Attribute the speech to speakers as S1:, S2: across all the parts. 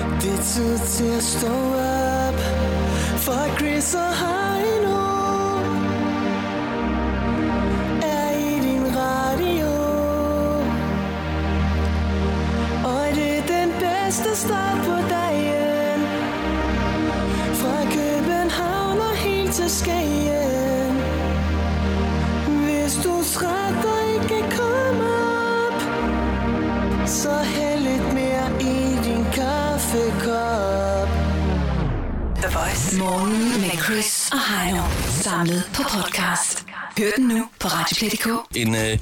S1: altid til at stå op For Chris og Heino Er i din radio Og det er den bedste start på dagen Fra København og helt til Skagen Hvis du er træt og ikke kan komme op Så hæld lidt mere i din kaffekop
S2: The Voice. Morgen med Chris og Heino. Samlet på podcast. Hør den nu på Radioplay.dk.
S3: en øh,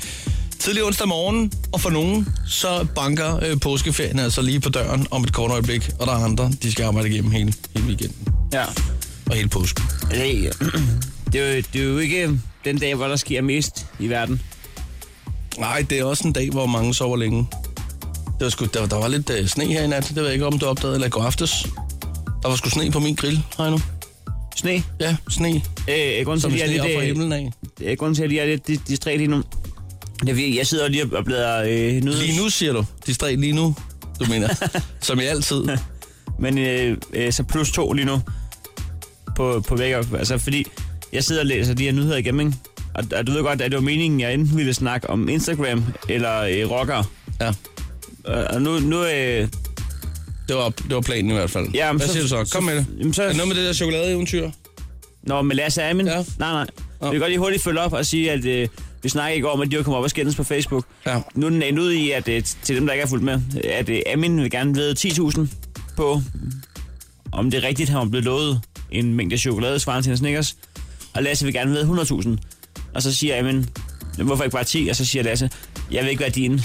S3: tidlig onsdag morgen, og for nogen, så banker øh, påskeferien altså lige på døren om et kort øjeblik, og der er andre, de skal arbejde igennem hele, hele weekenden
S4: Ja.
S3: og hele påsken.
S4: Det, det, er jo, det er jo ikke øh, den dag, hvor der sker mest i verden.
S3: Nej, det er også en dag, hvor mange sover længe. Det var sgu, der, der var lidt øh, sne her i nat, det ved jeg ikke, om du opdagede, eller i går aftes. Der var sgu sne på min grill, har jeg nu.
S4: Sne.
S3: Ja, sne,
S4: Øh, grunden,
S3: som
S4: til, at
S3: sne
S4: jeg
S3: op fra
S4: er lidt,
S3: himlen af.
S4: øh, grunden til, at jeg er lidt di- distræt lige nu, det er, fordi jeg sidder lige og bladrer øh, nyheds.
S3: Lige nu, siger du. De stræk lige nu, du mener. som i altid.
S4: Men øh, øh, så plus to lige nu på, på Vækker. Altså, fordi jeg sidder og læser de her nyheder igennem, ikke? Og, og du ved godt, at det var meningen, at jeg enten ville snakke om Instagram eller øh, rockere.
S3: Ja,
S4: Og, og nu, nu øh,
S3: det var, det var planen i hvert fald.
S4: Ja, men
S3: Hvad
S4: så-
S3: siger du så? Kom med det.
S4: jamen, så-
S3: Er det noget med det der chokoladeeventyr?
S4: Nå, med Lasse Amin?
S3: Ja.
S4: Nej, nej.
S3: Nå.
S4: Vi kan godt lige hurtigt følge op og sige, at øh, vi snakkede i går om, at de var kommet op og skændes på Facebook.
S3: Ja.
S4: Nu er den endt ud i, at øh, til dem, der ikke er fulgt med, at øh, Amin vil gerne vide 10.000 på, om det er rigtigt, han var blevet lovet en mængde chokolade, svarende til en Snickers. Og Lasse vil gerne vide 100.000. Og så siger Amin, hvorfor ikke bare 10? Og så siger Lasse, jeg vil ikke være din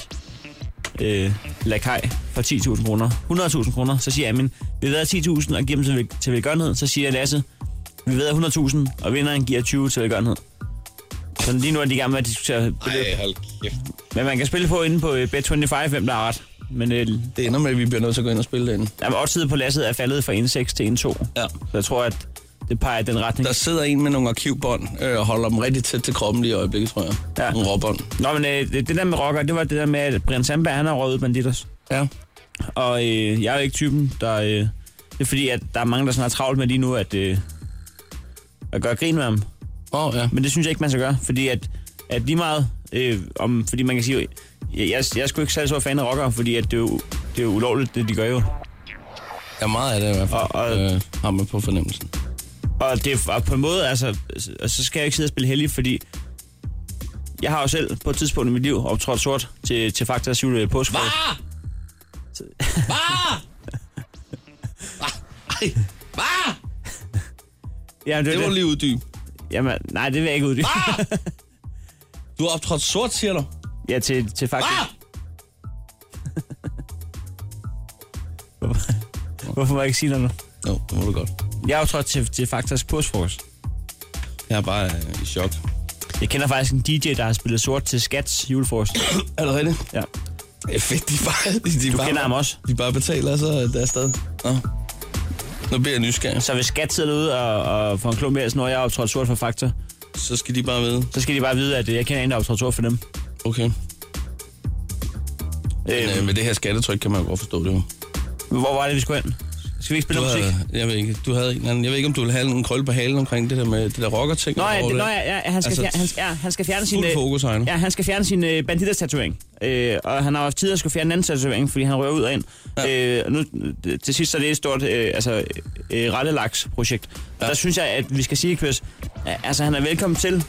S4: øh, lakaj for 10.000 kroner. 100.000 kroner, så siger Amin, vi ved 10.000 og giver dem til, vel- til velgørenhed. Så siger Lasse, vi ved 100.000, og vinderen giver 20 til velgørenhed. Så lige nu er de i gang med at diskutere beløb.
S3: Ej, hold kæft.
S4: Men man kan spille på inde på øh, Bet25, hvem der har ret. Men øh,
S3: Det ender med, at vi bliver nødt til at gå ind og spille den.
S4: jamen, oddset på lasset er faldet fra 1,6 til 1,2.
S3: Ja.
S4: Så jeg tror, at det peger i den retning.
S3: Der sidder en med nogle arkivbånd øh, og holder dem rigtig tæt til kroppen lige i øjeblikket, tror jeg.
S4: Ja.
S3: Nogle råbånd.
S4: Nå, men øh, det, det der med rocker, det var det der med, at Brian Sandberg, han har røget ud banditos.
S3: Ja.
S4: Og øh, jeg er jo ikke typen, der... Øh, det er fordi, at der er mange, der sådan har travlt med lige nu, at, øh, at gøre grin med ham.
S3: Åh, oh, ja.
S4: Men det synes jeg ikke, man skal gøre, fordi at, at lige meget... Øh, om, fordi man kan sige, jeg, jeg, jeg er sgu ikke særlig stor fan af rockere, fordi at det, er jo, det er jo ulovligt, det de gør jo.
S3: Ja, meget af det i hvert fald.
S4: Og- og-
S3: øh, har man på fornemmelsen.
S4: Og, det, er- og på en måde, altså, og så skal jeg jo ikke sidde og spille heldig, fordi jeg har jo selv på et tidspunkt i mit liv optrådt sort til, til Faktas jule påske. Hvad? Ah!
S3: Ej, ah!
S4: Ja, det,
S3: Det
S4: det,
S3: var
S4: det.
S3: lige uddyb.
S4: Jamen, nej, det vil jeg ikke uddybe.
S3: Du har optrådt sort, siger du?
S4: Ja, til, til Fakta.
S3: Ah!
S4: Hvorfor må jeg ikke sige noget nu?
S3: Jo, det må du godt.
S4: Jeg er jo trådt til, til Faktas påskefrokost.
S3: Jeg er bare øh, i chok.
S4: Jeg kender faktisk en DJ, der har spillet sort til Skats julefrokost.
S3: Er det rigtigt?
S4: Ja.
S3: Det er fedt, de bare... De du bare,
S4: kender ham også.
S3: De bare betaler så øh, deres sted. Nå. Nu bliver jeg nysgerrig.
S4: Så hvis Skat sidder ude og, og får en klump i halsen, når jeg er optrådt sort for Fakta,
S3: Så skal de bare vide.
S4: så skal de bare vide, at øh, jeg kender en, der er optrådt sort for dem.
S3: Okay. Men, øh,
S4: Øh,
S3: med det her skattetryk kan man jo godt forstå det jo.
S4: hvor var det, vi skulle hen? Skal vi ikke spille
S3: Du
S4: noget musik?
S3: havde, jeg ved ikke, du havde en eller anden, jeg ved ikke, om du ville have en krølle på halen omkring det der med det der rocker-ting.
S4: Nå
S3: eller
S4: ja,
S3: hvor
S4: det,
S3: det-
S4: nå, ja, ja han, skal
S3: Altså,
S4: altså, fjerne, han, skal- ja, han skal fjerne sin...
S3: fuld
S4: øh,
S3: fokus, Heino.
S4: Ja, han skal fjerne sin øh, banditers-tatovering. Øh, og han har haft tid at skulle fjerne en anden tatovering, fordi han rører ud og ind. Ja. Øh, og nu, øh, til sidst så er det et stort øh, altså, øh, rettelaks-projekt. Ja. Der synes jeg, at vi skal sige, Chris, øh, altså han er velkommen til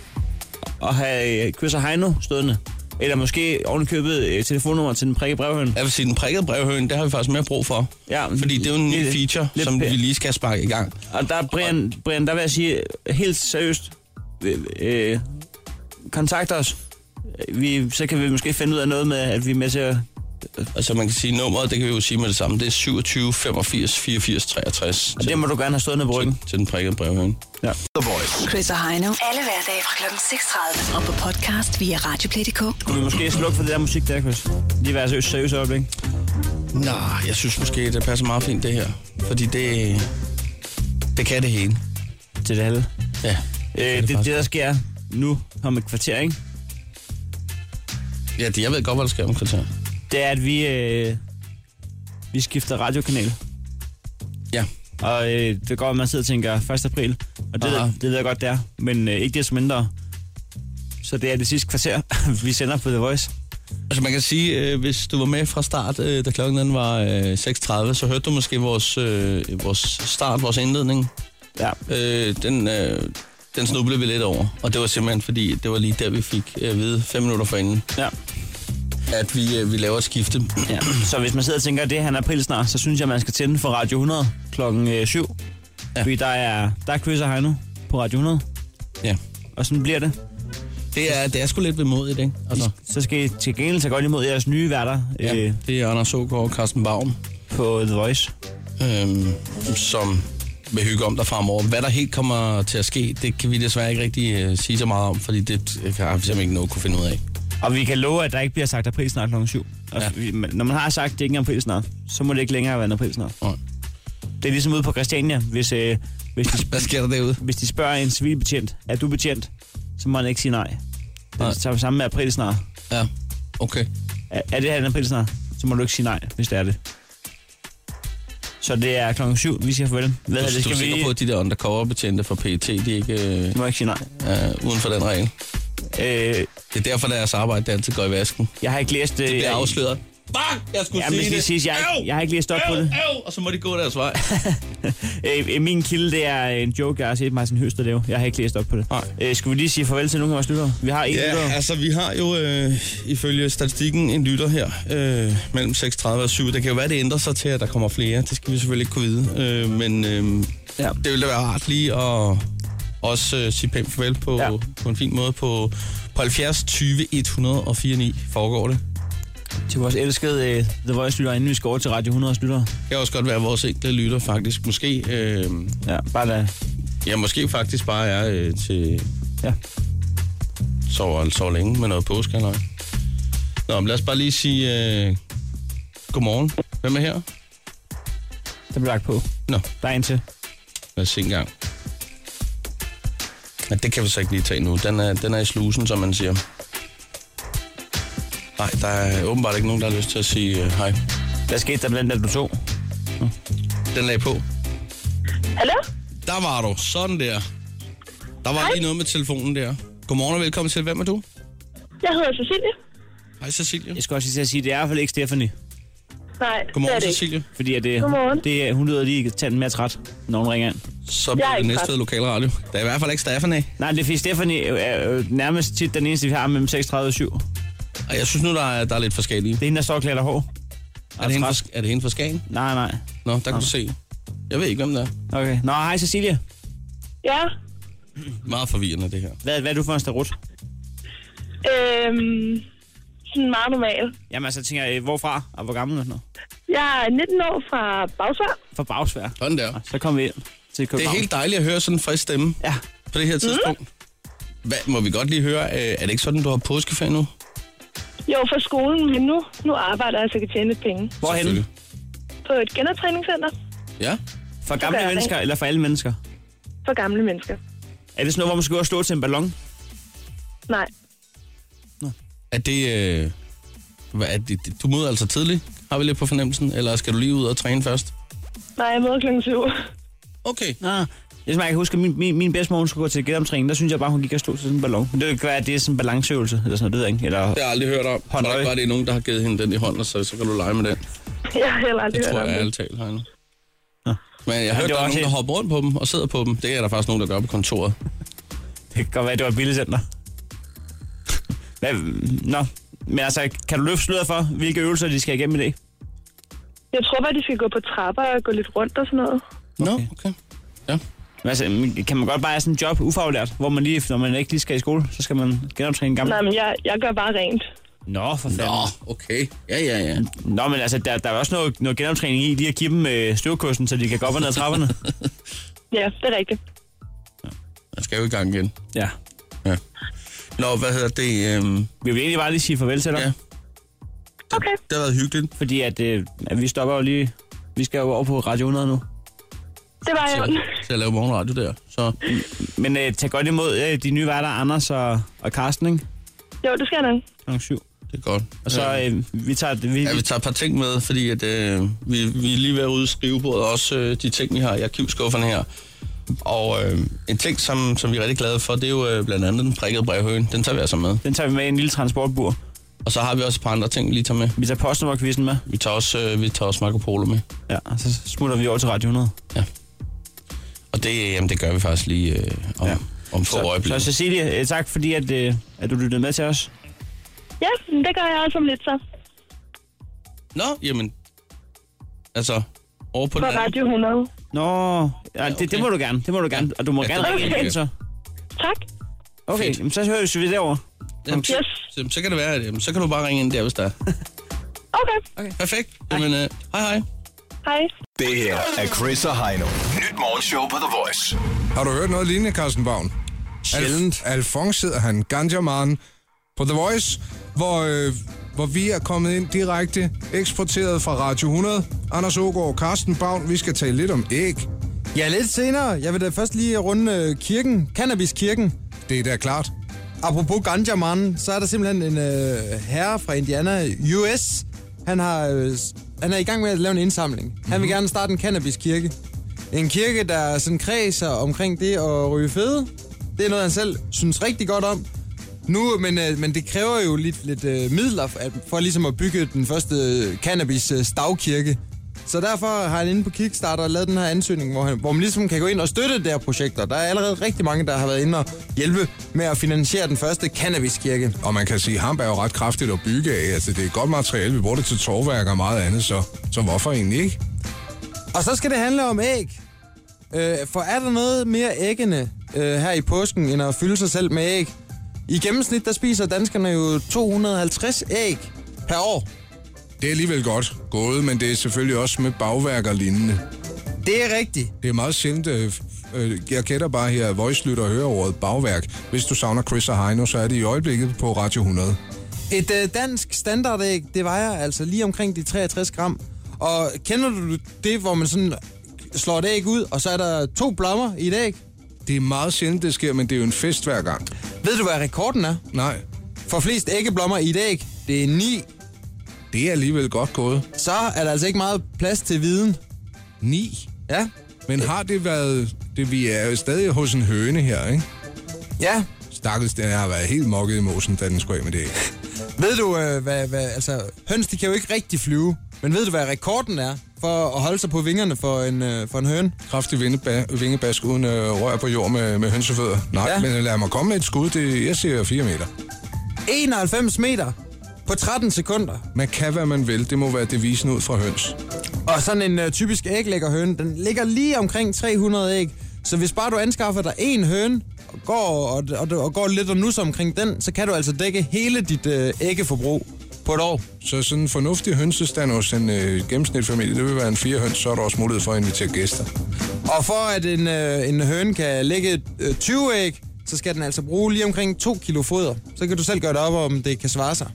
S4: at have øh, Chris og Heino stående. Eller måske ovenikøbet øh, telefonnummer til den prikke brevhøn.
S3: Jeg vil sige, den prikkede brevhøen, det har vi faktisk mere brug for.
S4: Ja,
S3: fordi det er jo en ny
S4: lidt-
S3: feature,
S4: lidt
S3: som vi
S4: pæ-
S3: lige skal sparke i gang.
S4: Og der er Brian, Brian, der vil jeg sige øh, helt seriøst, øh, øh, kontakt os. Vi, så kan vi måske finde ud af noget med, at vi er med til at...
S3: Og så Altså, man kan sige, nummeret, det kan vi jo sige med det samme, det er 27 85 84 63
S4: Og det må du gerne have stående på ryggen.
S3: til, til den prikkede brevhøen.
S4: Ja.
S2: Chris og Heino. Alle hverdage fra kl. 6.30. Og på podcast via Radioplay.dk.
S4: Kunne vi måske slukke for det der musik der, Chris? Lige være seriøst, seriøst øjeblik.
S3: Nej, jeg synes måske, det passer meget fint det her. Fordi det, det kan det hele.
S4: Til det halve.
S3: Ja.
S4: Øh, det, det, der sker nu om et kvarter, ikke?
S3: Ja, det, jeg ved godt, hvad der sker om kvarter.
S4: Det er, at vi, øh, vi skifter radiokanal.
S3: Ja.
S4: Og øh, det går, at man sidder og tænker 1. april, og det,
S3: Aha.
S4: det ved jeg godt, det er. Men øh, ikke desto mindre. Så det er det sidste kvarter, vi sender på The Voice.
S3: Altså man kan sige, øh, hvis du var med fra start, øh, da klokken den var øh, 6.30, så hørte du måske vores, øh, vores start, vores indledning.
S4: Ja.
S3: Øh, den, øh, den snublede vi lidt over, og det var simpelthen fordi, det var lige der, vi fik øh, at vide fem minutter forinden,
S4: ja.
S3: at vi, øh, vi laver et skifte.
S4: Ja. Så hvis man sidder og tænker, at det er han april snart, så synes jeg, man skal tænde for Radio 100 klokken øh, 7.
S3: Ja.
S4: Ja. Fordi der er, der er Chris og Heino på Radio 100,
S3: ja.
S4: og sådan bliver det.
S3: Det er, det er sgu lidt vemodigt, ikke? Altså,
S4: Så skal I til gengæld tage godt imod jeres nye værter ja.
S3: ja,
S4: øh,
S3: det er Anders Ågaard og Carsten Baum,
S4: på The Voice.
S3: øh, som vil hygge om dig fremover. Hvad der helt kommer til at ske, det kan vi desværre ikke rigtig øh, sige så meget om, fordi det øh, har vi simpelthen ikke noget kunne finde ud af.
S4: Og vi kan love, at der ikke bliver sagt april snart klokken 7. Og
S3: Ja.
S4: ja. Når man har sagt, at det ikke er april snart, så må det ikke længere være en april snart.
S3: Nej.
S4: Det er ligesom ude på Christiania, hvis, øh, hvis, de,
S3: Hvad sker der derude?
S4: hvis de spørger en civilbetjent, er du betjent, så må han ikke sige nej. Det
S3: Nej.
S4: er det samme med april snart.
S3: Ja, okay.
S4: Er, er det her en april snart, så må du ikke sige nej, hvis det er det. Så det er klokken 7, vi siger farvel. Hvad er
S3: Du,
S4: det,
S3: du er
S4: skal vi...
S3: sikker på, at de der undercover-betjente fra PET, de er ikke øh,
S4: Du må ikke sige nej.
S3: øh, uden for den regel.
S4: Øh,
S3: Det er derfor, deres arbejde det altid går i vasken.
S4: jeg har ikke læst... Øh,
S3: Det bliver afsløret. Fuck, jeg skulle
S4: Ja, men
S3: sige
S4: det skal
S3: det.
S4: siges, jeg, har ikke- jeg har ikke lige stoppet på det.
S3: Øv, og så må de gå deres vej.
S4: Øh, øh, min kilde, det er en joke, jeg har set Martin Høster lave. Jeg har ikke læst op på det.
S3: Nej.
S4: Øh, skulle vi lige sige farvel til nogle af vores lyttere? Vi har en
S3: Ja,
S4: lytter.
S3: altså vi har jo øh, ifølge statistikken en lytter her øh, mellem 6.30 og 7. Det kan jo være, det ændrer sig til, at der kommer flere. Det skal vi selvfølgelig ikke kunne vide. Øh, men øh, ja.
S4: Ja.
S3: det ville da være rart lige at også øh, sige pænt farvel på, ja.
S4: Ja.
S3: på en fin måde på, på 70 20 104 9 foregår det.
S4: Til vores elskede øh, The Voice-lytter, inden vi skal over til Radio 100's lyttere.
S3: Det kan også godt være, at vores enkelte lytter faktisk måske... Øh,
S4: Ja, bare da.
S3: ja, måske faktisk bare er øh, til...
S4: Ja.
S3: Sover så længe med noget påske eller ej. Nå, men lad os bare lige sige... Øh, godmorgen. Hvem er her?
S4: Der bliver lagt på.
S3: Nå,
S4: Der er en til.
S3: lad os se en gang. Ja, det kan vi så ikke lige tage nu. Den er, den er i slusen, som man siger. Nej, der er åbenbart ikke nogen, der har lyst til at sige øh, hej.
S4: Hvad skete der blandt andet, du to?
S3: Den lagde på.
S5: Hallo?
S3: Der var du. Sådan der. Der var lige noget med telefonen der. Godmorgen og velkommen til. Hvem er du?
S5: Jeg hedder Cecilie.
S3: Hej Cecilie.
S4: Jeg skal også lige til at sige, at det er i hvert fald ikke Stephanie.
S5: Nej, det er
S3: Godmorgen
S5: det ikke.
S3: Cecilie.
S4: Fordi at, det,
S5: Godmorgen.
S4: det, er- hun lyder lige tanden mere træt, når hun ringer ind.
S3: Så bliver
S5: er
S3: det
S5: ikke
S3: næste
S5: træt.
S3: lokalradio. Der er i hvert fald ikke Staffan af.
S4: Nej, det er fordi Stephanie er jo nærmest tit den eneste, vi har mellem 36 og 7. Det
S3: Og jeg synes nu, der er, der er lidt forskellige.
S4: er hende, der står og klæder hår.
S3: Er det, hende fra, er det hende fra Skagen?
S4: Nej, nej.
S3: Nå, der kan du se. Jeg ved ikke, hvem det er.
S4: Okay. Nå, hej Cecilie.
S5: Ja.
S3: Meget forvirrende, det her.
S4: Hvad, hvad er du for en starut?
S5: Øhm, sådan meget normal.
S4: Jamen altså, tænker jeg, øh, hvorfra og hvor gammel og sådan noget?
S5: Jeg er 19 år fra Bagsvær.
S4: For bagsvær.
S3: Sådan der.
S4: Og så kom vi ind til
S3: Det er
S4: København.
S3: helt dejligt at høre sådan en frisk stemme
S4: Ja.
S3: på det her tidspunkt. Hvad, må vi godt lige høre, øh, er det ikke sådan, du har påskeferie nu?
S5: Jo, fra skolen, men nu, nu arbejder jeg, så jeg kan tjene lidt penge.
S4: Hvorhen?
S3: Selvfølgelig.
S5: På et genoptræningscenter
S3: Ja,
S4: For gamle
S5: Det gør jeg
S4: mennesker, eller for alle mennesker?
S5: for gamle mennesker.
S4: Er det sådan noget, hvor man skal gå og slå til en ballon?
S5: Nej.
S3: er det... Øh, hvad er det du møder altså tidligt, har vi lidt på fornemmelsen? Eller skal du lige ud og træne først?
S5: Nej, jeg møder klokken 7.
S3: Okay.
S4: Ah. Det er som, jeg kan huske, at min, min, min bedstemor, hun skulle gå til genoptræning, der synes jeg bare, hun gik og stod til sådan en ballon. Men det kan være, at det er sådan en balanceøvelse, eller sådan noget, det ved jeg ikke. Eller,
S3: Det har jeg aldrig hørt om. Må
S4: Hånd
S3: der
S4: øje.
S3: ikke bare det er nogen, der har givet hende den i hånden, og så, så kan du lege med den.
S5: Jeg har heller aldrig
S3: Det
S5: hørt
S3: tror
S5: om
S3: jeg
S5: det.
S3: ærligt talt, Heino.
S4: Nå.
S3: Men jeg hørte,
S4: det
S3: der
S4: var
S3: er nogen,
S4: også
S3: der
S4: en-
S3: hopper rundt på dem og sidder på dem. Det er der faktisk nogen, der gør på kontoret.
S4: det kan godt være, at det var et billedcenter. Hvad? Nå, men altså, kan du løfte sløret for, hvilke øvelser de skal igennem i dag?
S5: Jeg tror bare, de skal gå på trapper og gå lidt rundt og sådan noget.
S3: Nå, okay.
S4: Men altså, kan man godt bare have sådan en job ufaglært, hvor man lige, når man ikke lige skal i skole, så skal man genoptræne en gammel?
S5: Nej, men jeg, jeg gør bare rent.
S4: Nå, for
S3: Nå,
S4: fanden.
S3: okay. Ja, ja, ja.
S4: Nå, men altså, der, der er også noget, noget genoptræning i lige at give dem øh, støvkosten, så de kan gå op og ned ad trapperne.
S5: Ja, det er rigtigt.
S3: Jeg skal jo i gang igen.
S4: ja.
S3: Nå, hvad hedder det? Øhm,
S4: Vi vil egentlig bare lige sige farvel til dig,
S3: Ja.
S4: ja.
S5: Okay.
S3: det har været hyggeligt.
S4: fordi at, øh, at vi stopper jo lige... Vi skal jo over på Radio 100 nu.
S5: Det var jeg.
S3: til, til at lave morgenradio der. Så
S4: Men øh, tag godt imod øh, de nye værter, Anders og, og Carsten, ikke?
S5: Jo, det skal jeg nok.
S4: Klokken syv.
S3: Det er godt.
S4: Og så
S3: ja.
S4: øh, vi tager... Vi,
S3: Ja, vi tager et par ting med, fordi at, øh, vi, vi er lige ved at rydde skrivebordet, også øh, de ting, vi har i arkivskufferne her. Og øh, en ting, som, som vi er rigtig glade for, det er jo øh, blandt andet den prikkede brevhøen. Den tager vi altså med.
S4: den tager vi med i en lille transportbur.
S3: Og så har vi også et par andre ting, vi lige tager med.
S4: Vi tager postnummerkvisten med.
S3: Vi tager også, øh, vi tager også Marco Polo med.
S4: Ja, og så smutter vi over til Radio 100.
S3: Og det, øh, jamen, det gør vi faktisk lige øh, om, ja.
S4: Ja.
S3: om få
S4: Så,
S3: øjeblikke.
S4: så Cecilie, øh, tak fordi, at, øh, at du lyttede med til os.
S5: Ja, men det gør jeg også om lidt så.
S3: Nå, jamen, altså, over på
S5: På
S3: den anden.
S5: Radio 100.
S4: Nå, ja, det,
S3: okay.
S4: det må du gerne, det må du gerne, og du må
S3: Ja,
S4: gerne
S3: det
S5: må
S4: ringe
S5: jeg
S4: ind, så.
S5: Tak.
S4: Okay,
S3: Fedt.
S4: jamen, så høres vi derovre.
S3: Jamen, så,
S5: Yes.
S3: jamen, så kan det være, at jamen, så kan du bare ringe ind der, hvis der er.
S5: Okay.
S3: Perfekt. Jamen, øh, hej hej.
S5: Hej.
S6: Det her er Chris og Heino. Nyt morgenshow på The Voice.
S7: Har du hørt noget lignende, Carsten Bavn? Sjældent. Alf, Alfons hedder han, Ganjaman, på The Voice, hvor, øh, hvor vi er kommet ind direkte, eksporteret fra Radio 100. Anders Ågaard, Carsten Bavn, vi skal tale lidt om æg.
S8: Ja, lidt senere. Jeg vil da først lige runde øh, kirken, cannabiskirken.
S7: Det er da klart.
S8: Apropos ganja man, så er der simpelthen en øh, herre fra Indiana, US. Han, har, øh, s- han er i gang med at lave en indsamling. Han
S7: Mhm.
S8: vil gerne starte en cannabiskirke. En kirke, der sådan kredser omkring det at ryge fede. Det er noget, han selv synes rigtig godt om. Nu, men, øh, men det kræver jo lidt, lidt øh, midler for, at, for ligesom at bygge den første øh, cannabis-stavkirke. så derfor har han inde på Kickstarter lavet den her ansøgning, hvor, han, hvor man ligesom kan gå ind og støtte det her projekt. Og der er allerede rigtig mange, der har været inde og hjælpe med at finansiere den første cannabiskirke.
S7: Og man kan sige, at hamp er jo ret kraftigt at bygge af. Altså, det er godt materiale. Vi bruger det til torvværk og meget andet, så, så hvorfor egentlig ikke?
S8: Og så skal det handle om æg. Øh, for er der noget mere æggende øh, her i påsken, end at fylde sig selv med æg? I gennemsnit, der spiser danskerne jo 250 æg per år.
S7: Det er alligevel godt gået, men det er selvfølgelig også med bagværk og lignende.
S8: Det er rigtigt.
S7: Det er meget sjældent. øh, øh, Jeg gætter bare her, at Voice lytter og hører ordet bagværk. Hvis du savner Chris og Heino, så er det i øjeblikket på Radio 100.
S8: Et øh, dansk standardæg, det vejer altså lige omkring de 63 gram. Og kender du det, hvor man sådan slår et æg ud, og så er der to blommer i et æg?
S7: Det er meget sjældent, det sker, men det er jo en fest hver gang.
S8: Ved du, hvad rekorden er?
S7: Nej,
S8: For flest æggeblommer i et æg, det er 9.
S7: det er alligevel godt gået.
S8: Så er der altså ikke meget plads til viden.
S7: 9.
S8: Ja,
S7: Men har det været... Det, vi er jo stadig hos en høne her, ikke?
S8: ja.
S7: Stakkels, den har været helt mokket i mosen, da den skulle af med det. æg.
S8: Ved du, øh, hvad, hvad, altså, høns de kan jo ikke rigtig flyve. Men ved du, hvad rekorden er for at holde sig på vingerne for en, øh, for en høne?
S7: Kraftig vindeba- vingebask uden øh, rør på jord med, med hønsefødder. Nej, ja.
S8: Ja.
S7: men lad mig komme med et skud. Det, jeg siger 4 meter.
S8: 91 meter på 13 sekunder.
S7: Man kan, hvad man vil. Det må være devisen ud fra høns.
S8: Og sådan en øh, typisk æglæggerhøne, den ligger lige omkring 300 æg. Så hvis bare du anskaffer dig en høne, og går, og, og, og går lidt og nusser omkring den, så kan du altså dække hele dit øh, æggeforbrug på et år.
S7: Så sådan en fornuftig hønsestand hos en øh, gennemsnitfamilie, det vil være en fire høns, så er der også mulighed for at invitere gæster.
S8: Og for at en, øh, en høne kan lægge øh, 20 æg, så skal den altså bruge lige omkring 2 kilo foder. Så kan du selv gøre det op, om det kan svare sig.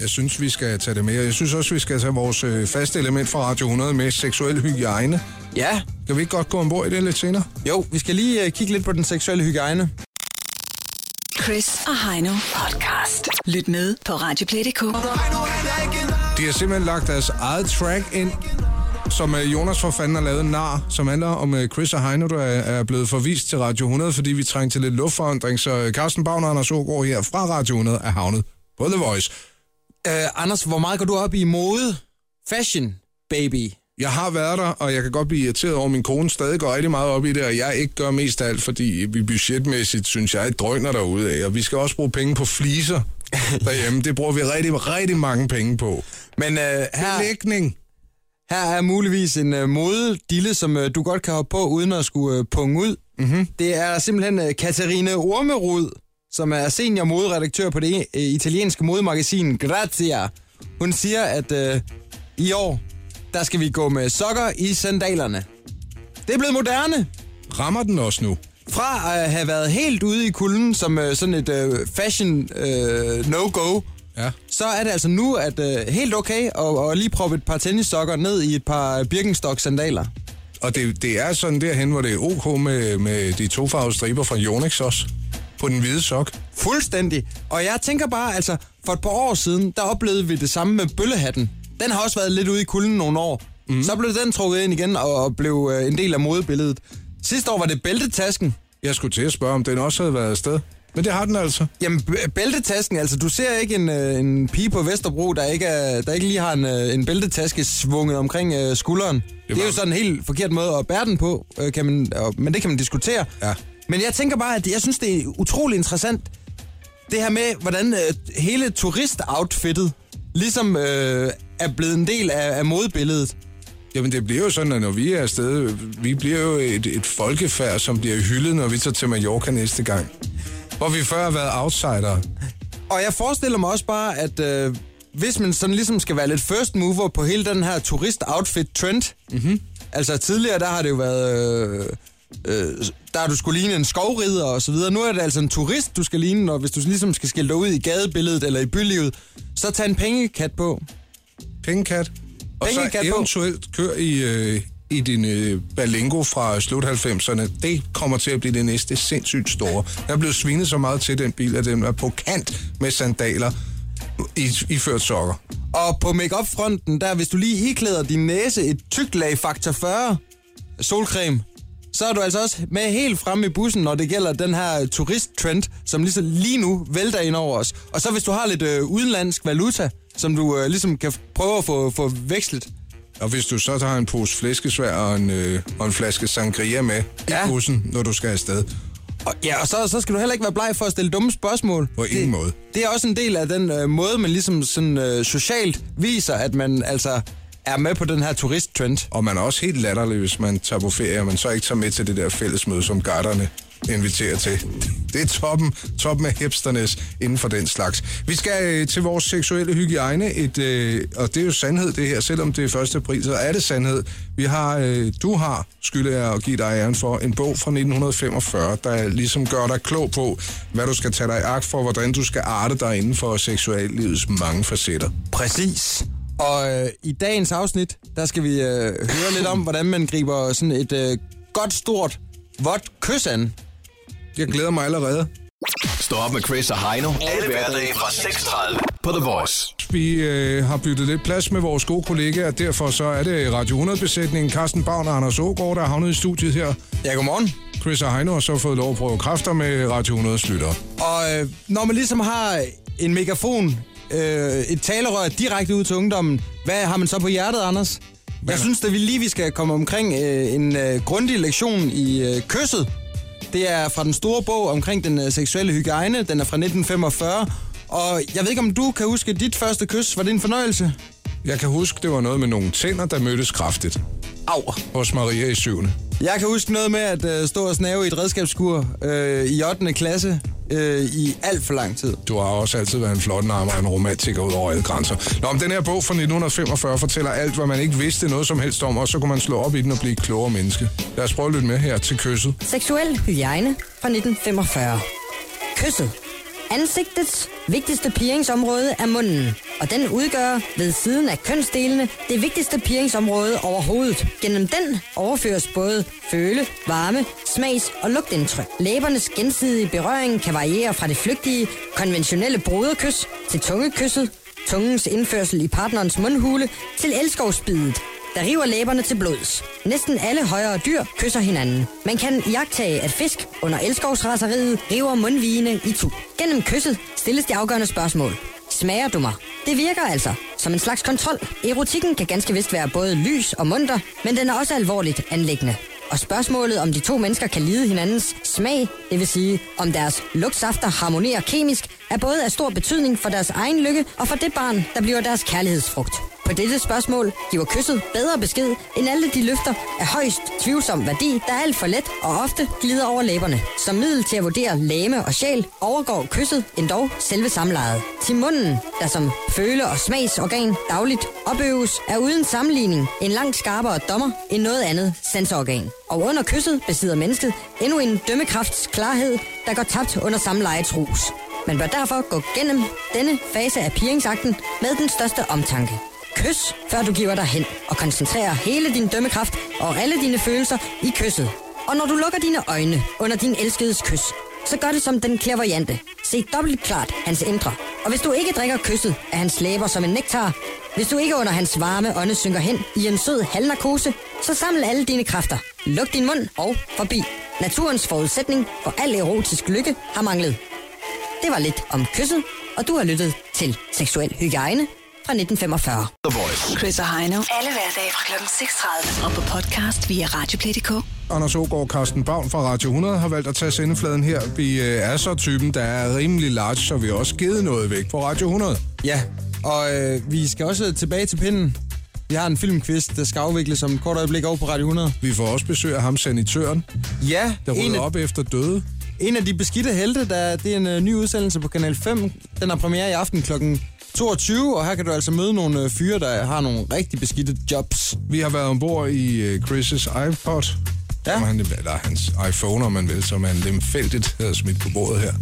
S7: Jeg synes, vi skal tage det med. Jeg synes også, vi skal tage vores øh, faste element fra Radio 100 med seksuel hygiejne.
S8: Ja,
S7: Kan vi ikke godt gå ombord i det lidt senere?
S8: jo, vi skal lige øh, kigge lidt på den seksuelle hygiejne.
S2: Chris og Heino podcast. Lyt med på Radioplay.dk.
S7: De har simpelthen lagt deres eget track ind, som øh, Jonas for fanden har lavet nar, som handler om øh, Chris og Heino, der er er blevet forvist til Radio 100, fordi vi trængte til lidt luftforandring. Så øh, Carsten Bavner og Anders Ågaard her fra Radio 100 er havnet på The Voice.
S8: Øh, Anders, hvor meget går du op i mode? Fashion, baby.
S7: Jeg har været der, og jeg kan godt blive irriteret over, at min kone stadig går rigtig meget op i det, og jeg ikke gør mest af alt, fordi vi budgetmæssigt, synes jeg, drøner derude af. Og vi skal også bruge penge på fliser derhjemme. Det bruger vi rigtig, rigtig mange penge på.
S8: Men øh, her...
S7: Belægning.
S8: Her er muligvis en øh, modedille, som øh, du godt kan hoppe på, uden at skulle øh, punge ud. Mm-hmm. Det er simpelthen øh, Katarina Ormerud, som er senior moderedaktør på det øh, italienske modemagasin Grazia. Hun siger, at øh, i år, der skal vi gå med sokker i sandalerne. Det er blevet moderne.
S7: Rammer den også nu?
S8: Fra at have været helt ude i kulden som øh, sådan et øh, fashion øh, no-go,
S7: Ja.
S8: så er det altså nu, at øh, helt okay at, at lige proppe et par tennissokker ned i et par Birkenstock-sandaler.
S7: Og det, det er sådan derhen, hvor det er ok med, med de tofarvede striber fra Yonex også. på den hvide sok.
S8: Fuldstændig. Og jeg tænker bare, altså, for et par år siden, der oplevede vi det samme med bøllehatten. Den har også været lidt ude i kulden nogle år. Mm. Så blev den trukket ind igen og, og blev øh, en del af modebilledet. Sidste år var det bæltetasken.
S7: Jeg skulle til at spørge, om den også havde været afsted. Men det har den altså.
S8: Jamen, b- bæltetasken, altså du ser ikke en, øh, en pige på Vesterbro, der ikke, er, der ikke lige har en, øh, en bæltetaske svunget omkring øh, skulderen. Det, det er jo sådan en helt forkert måde at bære den på, øh, kan man, og, men det kan man diskutere.
S7: Ja.
S8: Men jeg tænker bare, at jeg synes, det er utrolig interessant, det her med, hvordan øh, hele turistoutfittet ligesom øh, er blevet en del af, af modebilledet.
S7: Jamen, det bliver jo sådan, at når vi er afsted, øh, vi bliver jo et, et folkefærd, som bliver hyldet, når vi tager til Mallorca næste gang. Hvor vi før har været outsider.
S8: Og jeg forestiller mig også bare, at øh, hvis man sådan ligesom skal være lidt first mover på hele den her turist-outfit-trend, mm-hmm. altså tidligere, der har det jo været... Øh, øh, der har du skulle ligne en skovrider og så videre. Nu er det altså en turist, du skal ligne, og hvis du ligesom skal skille dig ud i gadebilledet eller i bylivet, så tag en pengekat på.
S7: Pengekat. Og
S8: Pengekat
S7: så
S8: på.
S7: eventuelt kør i, øh, i din øh, Balingo fra slut 90'erne. Det kommer til at blive det næste sindssygt store. Der er blevet svinet så meget til den bil, at den er på kant med sandaler i, i ført sokker.
S8: Og på make fronten der hvis du lige iklæder din næse et tykt lag faktor 40 solcreme, så er du altså også med helt frem i bussen, når det gælder den her turisttrend, som ligesom lige nu vælter ind over os. Og så hvis du har lidt øh, udenlandsk valuta, som du øh, ligesom kan f- prøve at få, få vekslet.
S7: Og hvis du så har en pose flæskesvær og en, øh, og en flaske sangria med ja.
S8: Ja.
S7: i bussen, når du skal afsted,
S8: Og, ja, og så, så skal du heller ikke være bleg for at stille dumme spørgsmål.
S7: på ingen måde.
S8: Det er også en del af den øh, måde, man ligesom sådan, øh, socialt viser, at man altså er med på den her turisttrend.
S7: Og man er også helt latterlig, hvis man tager på ferie, og man så ikke tager med til det der fællesmøde, som garderne inviterer til. Det er toppen, toppen af hipsternes inden for den slags. Vi skal øh, til vores seksuelle hygiejne, et, øh, og det er jo sandhed det her, selvom det er 1. april, så er det sandhed. Vi har, øh, du har, skylder jeg at give dig æren for, en bog fra 1945, der ligesom gør dig klog på, hvad du skal tage dig i agt for, hvordan du skal arte dig inden for seksuallivets mange facetter.
S8: Præcis. Og øh, i dagens afsnit, der skal vi øh, høre lidt om, hvordan man griber sådan et øh, godt stort, vådt kys an.
S7: Jeg glæder mig allerede.
S6: Stå op med Chris og Heino. Alle hverdage fra 6.30 på The Voice.
S7: Vi øh, har byttet lidt plads med vores gode kollegaer, derfor så er det Radio 100-besætningen Carsten Bavn og Anders Ågaard, der er havnet i studiet her.
S8: Ja, godmorgen.
S7: Chris og Heino har så fået lov at prøve kræfter med Radio 100's lyttere.
S8: Og øh, når man ligesom har en megafon, øh, et talerør direkte ud til ungdommen, hvad har man så på hjertet, Anders? Jeg synes, at vi lige vi skal komme omkring øh, en øh, grundig lektion i øh, kysset. Det er fra den store bog omkring den øh, seksuelle hygiejne. Den er fra 1945. Og jeg ved ikke, om du kan huske dit første kys. Var det en fornøjelse?
S7: Jeg kan huske, det var noget med nogle tænder, der mødtes kraftigt
S8: Au.
S7: hos Maria i 7.
S8: Jeg kan huske noget med at øh, stå og snave i et redskabsskur øh, i 8. klasse øh, i alt for lang tid.
S7: Du har også altid været en flot arm og en romantiker ud over alle grænser. Nå, om den her bog fra 1945 fortæller alt, hvad man ikke vidste noget som helst om, og så kunne man slå op i den og blive et klogere menneske. Lad os prøve at lytte med her til kysset.
S9: Seksuel hygiejne fra 1945. Kysset. Ansigtets vigtigste piringsområde er munden, og den udgør ved siden af kønsdelene det vigtigste piringsområde overhovedet. Gennem den overføres både føle, varme, smags- og lugtindtryk. Læbernes gensidige berøring kan variere fra det flygtige, konventionelle broderkys til tungekysset, tungens indførsel i partnerens mundhule til elskovsbidet, der river læberne til blods. Næsten alle højere dyr kysser hinanden. Man kan jagtage, at fisk under elskovsraseriet river mundvigene i tu. Gennem kysset stilles de afgørende spørgsmål. Smager du mig? Det virker altså som en slags kontrol. Erotikken kan ganske vist være både lys og munter, men den er også alvorligt anlæggende. Og spørgsmålet om de to mennesker kan lide hinandens smag, det vil sige om deres lugtsafter harmonerer kemisk, er både af stor betydning for deres egen lykke og for det barn, der bliver deres kærlighedsfrugt. På dette spørgsmål giver kysset bedre besked end alle de løfter af højst tvivlsom værdi, der alt for let og ofte glider over læberne. Som middel til at vurdere læme og sjæl overgår kysset endog selve samlejet. Til munden, der som føle- og smagsorgan dagligt opøves, er uden sammenligning en langt skarpere dommer end noget andet sensororgan. Og under kysset besidder mennesket endnu en dømmekrafts klarhed, der går tabt under samlejets rus. Man bør derfor gå gennem denne fase af piringsakten med den største omtanke. Kys, før du giver dig hen, og koncentrerer hele din dømmekraft og alle dine følelser i kysset. Og når du lukker dine øjne under din elskedes kys, så gør det som den klaverjante. Se dobbelt klart hans indre. Og hvis du ikke drikker kysset, er hans læber som en nektar. Hvis du ikke under hans varme ånde synker hen i en sød halvnarkose, så saml alle dine kræfter. Luk din mund og forbi. Naturens forudsætning for al erotisk lykke har manglet. Det var lidt om kysset, og du har lyttet til Seksuel Hygiejne fra 1945.
S6: The Voice.
S2: Chris og Heino. Alle hverdage fra kl. 6.30. Og på podcast via Radioplay.dk.
S7: Anders Ågaard Carsten Bavn fra Radio 100 har valgt at tage sendefladen her. Vi øh, er så typen, der er rimelig large, så vi har også givet noget væk på Radio 100.
S8: Ja, og øh, vi skal også tilbage til pinden. Vi har en filmquiz, der skal afvikles om et kort øjeblik over på Radio 100.
S7: Vi får også besøg af ham, sanitøren,
S8: Ja,
S7: der
S8: en
S7: rydder
S8: af,
S7: op efter døde.
S8: en af de beskidte helte, der, det er en øh, ny udsendelse på Kanal 5. Den har premiere i aften kl. 22, og her kan du altså møde nogle øh, fyre, der har nogle rigtig beskidte jobs.
S7: Vi har været ombord i øh, Chris' iPod,
S8: Ja.
S7: som han, eller hans iPhone, om man vil, som han lemfældigt havde smidt på bordet her.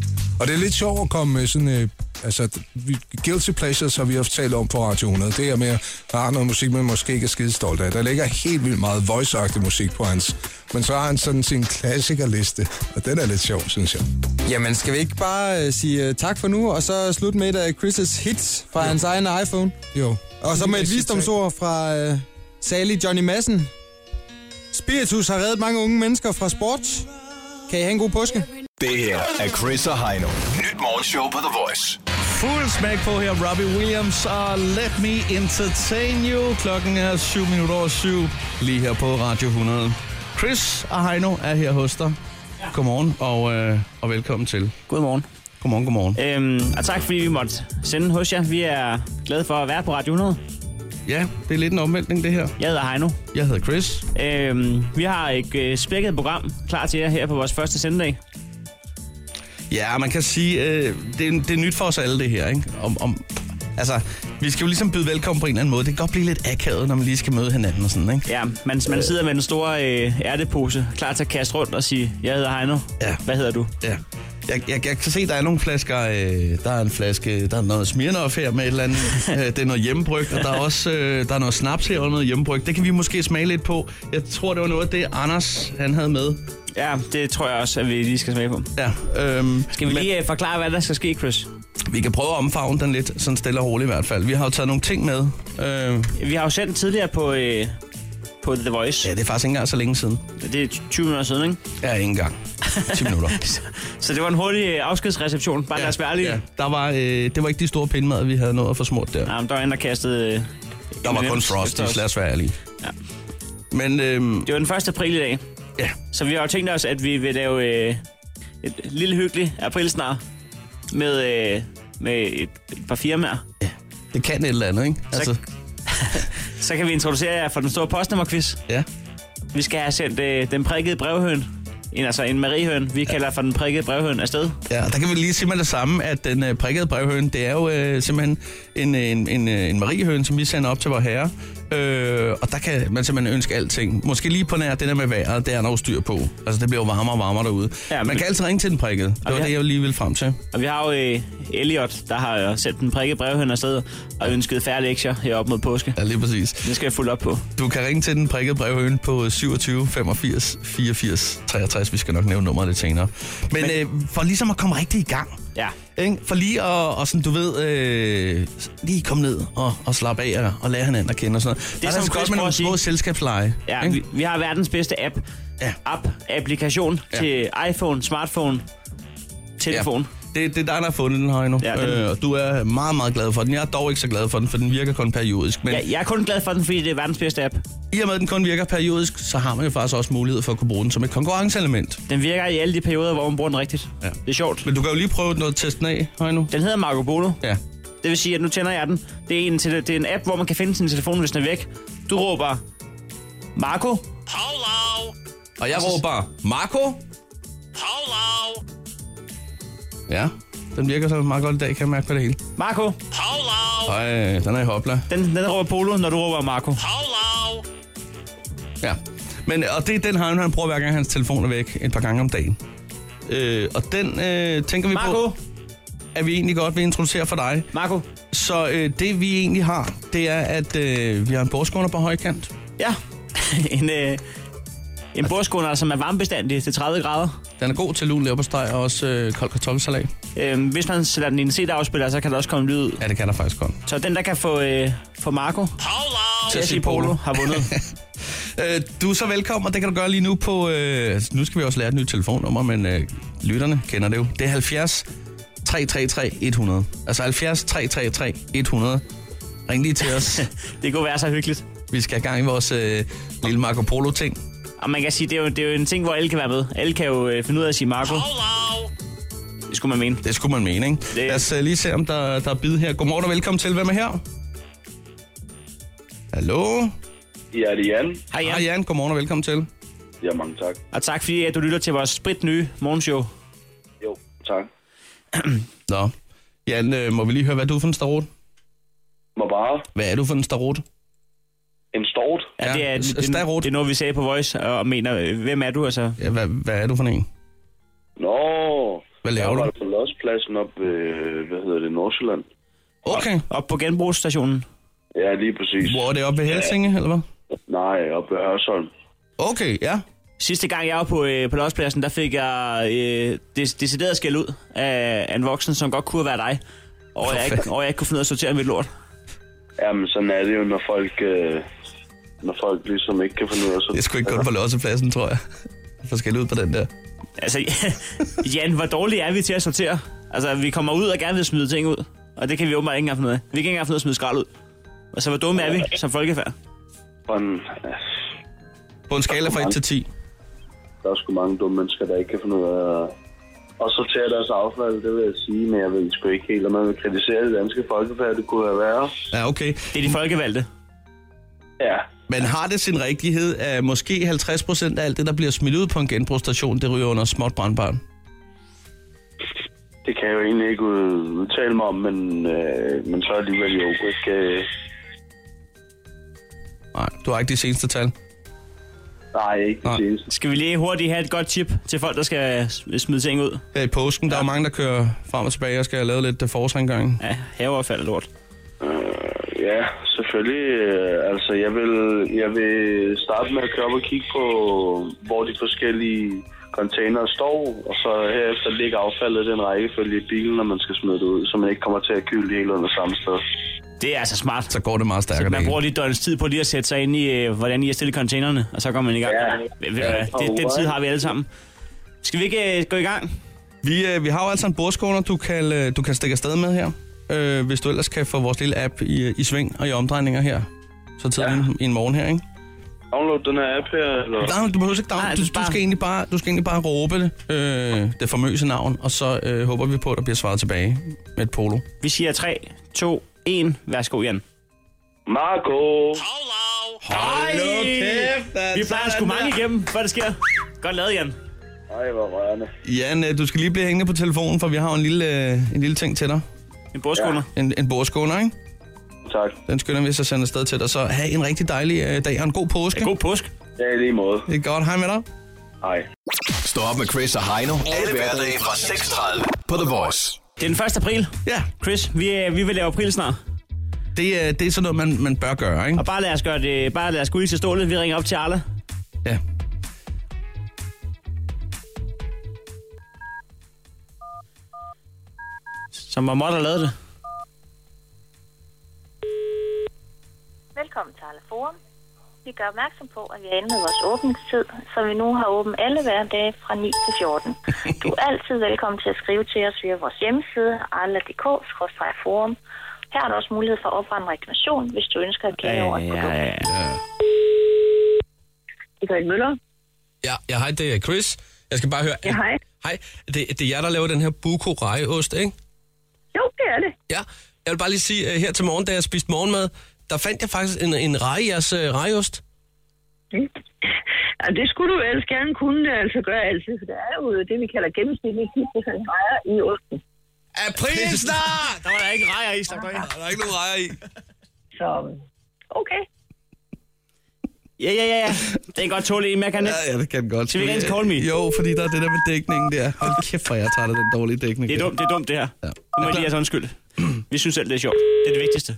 S7: Og det er lidt sjovt at komme med sådan... Øh, altså, vi, guilty pleasures har vi haft talt om på Radio 100. Det er med at har noget musik, man måske ikke er skide stolt af. Der ligger helt vildt meget voice musik på hans. Men så har han sådan sin klassikerliste, og den er lidt sjov, synes jeg.
S8: Jamen, skal vi ikke bare øh, sige øh, tak for nu, og så slutte med et af Chris' hits fra hans egen iPhone?
S7: Jo.
S8: Og så med et visdomsord fra øh, Sally Johnny Madsen. Spiritus har reddet mange unge mennesker fra sport. Kan I have en god påske?
S6: Det her er Chris og Heino. Nyt morgenshow på The Voice.
S3: Fuld smæk på her, Robbie Williams og Let Me Entertain You. Klokken er 7 minutter over 7, lige her på Radio 100. Chris og Heino er her hos dig. Godmorgen og, øh, og velkommen til.
S4: Godmorgen.
S3: Godmorgen, godmorgen.
S4: Øhm, og tak fordi vi måtte sende hos jer. Vi er glade for at være på Radio 100.
S3: Ja, det er lidt en omvæltning, det her.
S4: Jeg hedder Heino.
S3: Jeg hedder Chris.
S4: Øhm, vi har et øh, spækket program klar til jer her på vores første sendedag.
S3: Ja, man kan sige, øh, det, er, det er nyt for os alle det her, ikke? Om, om, altså, vi skal jo ligesom byde velkommen på en eller anden måde. Det kan godt blive lidt akavet, når man lige skal møde hinanden og sådan, ikke?
S4: Ja, man, man sidder med den store øh, ærtepose, klar til at kaste rundt og sige, jeg hedder Heino.
S3: Ja.
S4: Hvad hedder du?
S3: Ja. Jeg, jeg, jeg kan se, der er nogle flasker. Øh, der er en flaske, der er noget Smirnoff her med et eller andet. øh, det er noget hjemmebryg, og der er også øh, der er noget snaps her og noget hjemmebryg. Det kan vi måske smage lidt på. Jeg tror, det var noget af det, Anders han havde med.
S4: Ja, det tror jeg også, at vi lige skal smage på.
S3: Ja, øhm,
S4: Skal vi lige øh, forklare, hvad der skal ske, Chris?
S3: vi kan prøve at omfavne den lidt, sådan stille og roligt i hvert fald. Vi har jo taget nogle ting med. Øh,
S4: Vi har jo sendt tidligere på, øh, på The Voice.
S3: ja, det er faktisk ikke engang så længe siden.
S4: Det er 20 minutter siden, ikke?
S3: Ja, ikke engang. 10 minutter.
S4: Så det var en hurtig øh, afskedsreception. Bare ja, lad os være ærlige. Ja.
S3: der var, øh, det var ikke de store pindmad, vi havde nået at få smurt der.
S4: Nej, men der var en, der kastede... Øh,
S3: der var kun
S4: M&M's efter os.
S3: Frosties, lad os være ærlige.
S4: Ja.
S3: Men øhm,
S4: Det var den 1. april i dag,
S3: ja,
S4: så vi har jo tænkt os, at vi vil lave øh, et lille hyggeligt aprilsnar med, øh, med et, et par firmaer.
S3: det kan et eller andet, ikke? Altså,
S4: Så, så kan vi introducere jer for den store postnummerquiz.
S3: Ja.
S4: Vi skal have sendt øh, den prikkede brevhøn, en, altså en mariehøn, vi ja. kalder for den prikkede brevhøn, afsted.
S3: Ja, og der kan vi lige sige med det samme, at den øh, prikkede brevhøne, det er jo øh, simpelthen en, en, en, øh, en mariehøne, som vi sender op til vores herre. Øh, og der kan man simpelthen ønske alting. Måske lige på nær det der med vejret, det er der jo styr på. Altså, det bliver jo varmere og varmere derude.
S4: Ja,
S3: Ja,
S4: men-
S3: Man kan altid ringe til den prikkede. Det var
S4: ja.
S3: det, jeg lige ville frem til.
S4: Og vi har jo øh, Elliot, der har jo sendt den prikkede brevhøn afsted og ønsket færre lektier heroppe mod påske.
S3: Ja, lige præcis.
S4: Det skal jeg fulde op på.
S3: Du kan ringe til den prikkede brevhøne på 27 85 84 63. Vi skal nok nævne nummeret lidt senere. Men, Men... Øh, for ligesom at komme rigtig i gang,
S4: Ja,
S3: Ikke? For lige at, og sådan, du ved, øh, lige komme ned og, og slappe af og, og lære hinanden at kende og sådan noget. Det
S4: er som
S3: sgu
S4: Chris
S3: godt
S4: prøver
S3: med nogle
S4: at sige.
S3: små selskabsleje.
S4: ja
S3: ikke?
S4: vi, vi har verdens bedste app.
S3: Ja.
S4: App, applikation ja.
S3: Ja.
S4: til iPhone, smartphone, telefon. Ja.
S3: Det, det er dig, der har fundet den, Højno.
S4: Ja,
S3: Ja,
S4: den-
S3: den... øh, og du er meget, meget glad for den. Jeg er dog ikke så glad for den, for den virker kun periodisk. Men ja,
S4: Jeg, jeg er kun glad for den, fordi det er verdens bedste app.
S3: i og med, at den kun virker periodisk, så har man jo faktisk også mulighed for at kunne bruge den som et konkurrenceelement.
S4: Den virker i alle de perioder, hvor man bruger den rigtigt.
S3: Ja.
S4: Det er sjovt.
S3: Men du kan jo lige prøve noget at teste den af, Højno.
S4: Den hedder Marco Polo.
S3: Ja.
S4: Det vil sige, at nu tænder jeg den. Det er en, tele- det er en app, hvor man kan finde sin telefon, hvis den er væk. Du råber, Marco,
S3: Og jeg råber, Marco? Polo! Ja, den virker så meget godt i dag, kan jeg mærke på det hele.
S4: Marco.
S3: Ej, den er i hopla.
S4: Den, den råber Polo, når du råber Marco.
S3: Ja. Men, og det er den han, han bruger hver gang hans telefon er væk et par gange om dagen. Øh, og den øh, tænker vi
S4: Marco,
S3: på, at vi egentlig godt vil introducere for dig.
S4: Marco.
S3: Så øh, det vi egentlig har, det er, at øh, vi har en borskåner på højkant.
S4: Ja, en, øh, En borskåner, som er varmebestandig til 30 grader.
S3: Den er god til lun leverpostej og også øh, kold kartoffelsalat.
S4: Øhm, hvis man sætter den i en CD-afspiller, så kan der også komme lyd ud.
S3: Ja, det kan der faktisk godt.
S4: Så den, der kan få, øh, få Marco til at sige polo, har vundet.
S3: Øh, du er så velkommen, og det kan du gøre lige nu på... Øh, nu skal vi også lære et nyt telefonnummer, men øh, lytterne kender det jo. Det er 70 333 100. Altså 70 333 100. Ring lige til os.
S4: det kunne være så hyggeligt.
S3: Vi skal have gang i vores øh, lille Marco Polo-ting.
S4: Og man kan sige, det er, jo, det er jo en ting, hvor alle kan være med. Alle kan jo øh, finde ud af at sige Marco. Det skulle man mene.
S3: Det skulle man mene, ikke? Det... Lad os øh, lige se, om der, der er bid her. Godmorgen og velkommen til. Hvem er her? Hallo?
S10: Ja, det er Jan.
S4: Hej
S3: Hej
S4: Jan,
S3: Jan, godmorgen og velkommen til.
S10: Ja, mange tak.
S4: og tak fordi at du lytter til vores sprit nye morgenshow.
S10: Jo, tak.
S3: Nå. Jan, øh, må vi lige høre, hvad er du for en starot?
S10: Må bare
S3: Hvad er du for en starot?
S10: en stort.
S4: Ja, det, er,
S3: s-
S4: det, det,
S3: starot.
S4: det er noget, vi sagde på Voice, og og mener, øh, hvem er du altså?
S3: Ja, hvad, hvad er du for en?
S10: Nå,
S3: Hvad laver
S10: jeg var
S3: du?
S10: der på Lodspladsen op, øh, hvad hedder det, Nordsjælland.
S3: Okay.
S4: Op på genbrugsstationen.
S10: Ja, lige præcis.
S3: Hvor er det oppe ved Helsinge, eller hvad?
S10: Nej, op ved Hørsholm.
S3: Okay, ja.
S4: Sidste gang jeg var på, øh, på lodspladsen, der fik jeg øh, des, decideret skæld ud af, af en voksen, som godt kunne være dig. Og jeg, ikke, og jeg ikke kunne finde ud af at sortere mit lort.
S10: Jamen, sådan er det jo, når folk, øh, når folk ligesom ikke kan finde ud af
S3: Det er
S10: sig.
S3: sgu ikke godt på lossepladsen, tror jeg. Forskelligt ud på den der.
S4: Altså, Jan, hvor dårlige er vi til at sortere? Altså, vi kommer ud og gerne vil smide ting ud. Og det kan vi åbenbart ikke engang finde ud af. Vi kan ikke engang finde ud af at smide skrald ud. Altså, hvor dumme er vi som folkefærd?
S10: Sådan, ja,
S3: På en skala fra 1 til 10.
S10: der er sgu mange dumme mennesker, der ikke kan finde ud af at- at sortere deres affald, det vil jeg sige, men jeg ved sgu ikke helt, om man vil kritisere det danske folkefærd, det kunne have været.
S3: Ja, okay.
S4: Det er de folkevalgte.
S10: Ja,
S3: Men har det sin rigtighed, at måske 50% af alt det, der bliver smidt ud på en genbrugsstation, det ryger under småt brandbarn?
S10: det kan jeg jo egentlig ikke ud- udtale mig om, men, øh, men så alligevel jo ikke... Øh,
S3: Nej, du har ikke de seneste tal.
S10: nej, ikke det
S3: Nej.
S10: seneste.
S4: Skal vi lige hurtigt have et godt tip til folk, der skal øh, smide ting ud?
S3: Her i påsken, der er jo mange, der kører frem og tilbage og skal have lavet lidt øh, forårsrengøring.
S4: Ja, haveaffald er lort.
S10: Ja, selvfølgelig. øh, Altså, jeg vil, jeg vil starte med at køre op og kigge på, hvor de forskellige containere står, og så herefter ligge affaldet i den rækkefølge i bilen, når man skal smide det ud, så man ikke kommer til at kylde det hele under samme sted.
S4: Det er altså smart.
S3: Så går det meget stærkere.
S4: Man
S3: det
S4: bruger lige et døgns tid på lige at sætte sig ind i, øh, hvordan I har stillet containerne, og så går man i gang.
S10: Ja.
S4: Ved- ved du hvad, Det, den tid har vi alle sammen. Skal vi ikke øh, gå i gang?
S3: Vi, øh, vi har jo altså en bordskåner, du kan, øh, du kan stikke afsted med her. Øh, hvis du ellers kan få vores lille app i, øh, i sving og i omdrejninger her. Så tager ja. i en morgen her, ikke?
S10: Download den her app her, eller?
S3: Nej, du behøver ikke
S4: Nej, bare-
S3: down. Du, du, skal egentlig bare, du skal egentlig bare råbe det, øh, det famøse navn, og så øh, håber vi på, at der bliver svaret tilbage med et polo.
S4: Vi siger 3, 2, 1. Værsgo, Jan.
S10: Marco!
S4: Hold Vi plejer sgu mange igennem, før det sker. Godt lavet, Jan.
S10: Ej, hvor rørende.
S3: Jan, øh, du skal lige blive hængende på telefonen, for vi har jo en lille, øh, en lille ting til dig.
S4: En bordskunder.
S3: En, en bordskåner, ikke?
S10: Tak.
S3: Den skynder vi så at sende afsted til dig. Så have en rigtig dejlig øh, dag og en god påske.
S4: Ja. God påsk.
S10: Ja, i lige måde.
S3: Det er godt. Hej med dig.
S10: Hej.
S6: Stå op med Chris og Heino. Alle hverdage fra 6.30 på The Voice.
S4: Det er den 1. april.
S3: Ja,
S4: Chris, vi, øh, vi vil lave april snart.
S3: det, er- det er sådan noget, man, man bør gøre, ikke?
S4: Og bare lad os gøre det, bare lad os gå ud til stålet. Vi ringer op til Arla.
S3: Ja.
S4: Som var måtte have lavet det.
S11: Velkommen til Arla Forum. Vi gør opmærksom på, at vi har ændret vores åbningstid, så vi nu har åbent alle hverdage fra 9 til 14. Du er altid velkommen til at skrive til os via vores hjemmeside, arla.dk-forum. Her er der også mulighed for at oprette en reklamation, hvis du ønsker at klage over et produkt.
S4: ja, ja.
S5: Det gør Møller.
S12: Ja, ja hej, det er Chris. Jeg skal bare høre...
S5: Ja, hej.
S12: Hej, det, det er jer, der laver den her buko rejeost, ikke?
S5: Jo, det er det.
S12: Ja, jeg vil bare lige sige, øh, her til morgen, da jeg spiste morgenmad, der fandt jeg faktisk en, en reje i jeres øh, rejeost.
S5: Ja, det skulle du ellers gerne kunne, altså gøre altid, for der er jo det, vi kalder gennemsnitlig 10% rejer i osten.
S12: April snart!
S4: Der var der ikke rejer i, stak der
S12: Der er ikke nogen rejer i.
S5: Så øh, okay.
S4: Ja, ja, ja, ja. Det er en godt tåle en, men jeg kan ikke.
S3: Ja, ja, det kan den godt.
S4: Skal vi ringe til Call Me?
S3: Jo, fordi der er det der med dækningen der. Hold kæft, hvor jeg tager den dårlige dækning.
S4: Det er dumt, det er dumt, det her.
S3: Ja.
S4: Nu må jeg lige have undskyld. Vi synes selv, det er sjovt. Det er det vigtigste.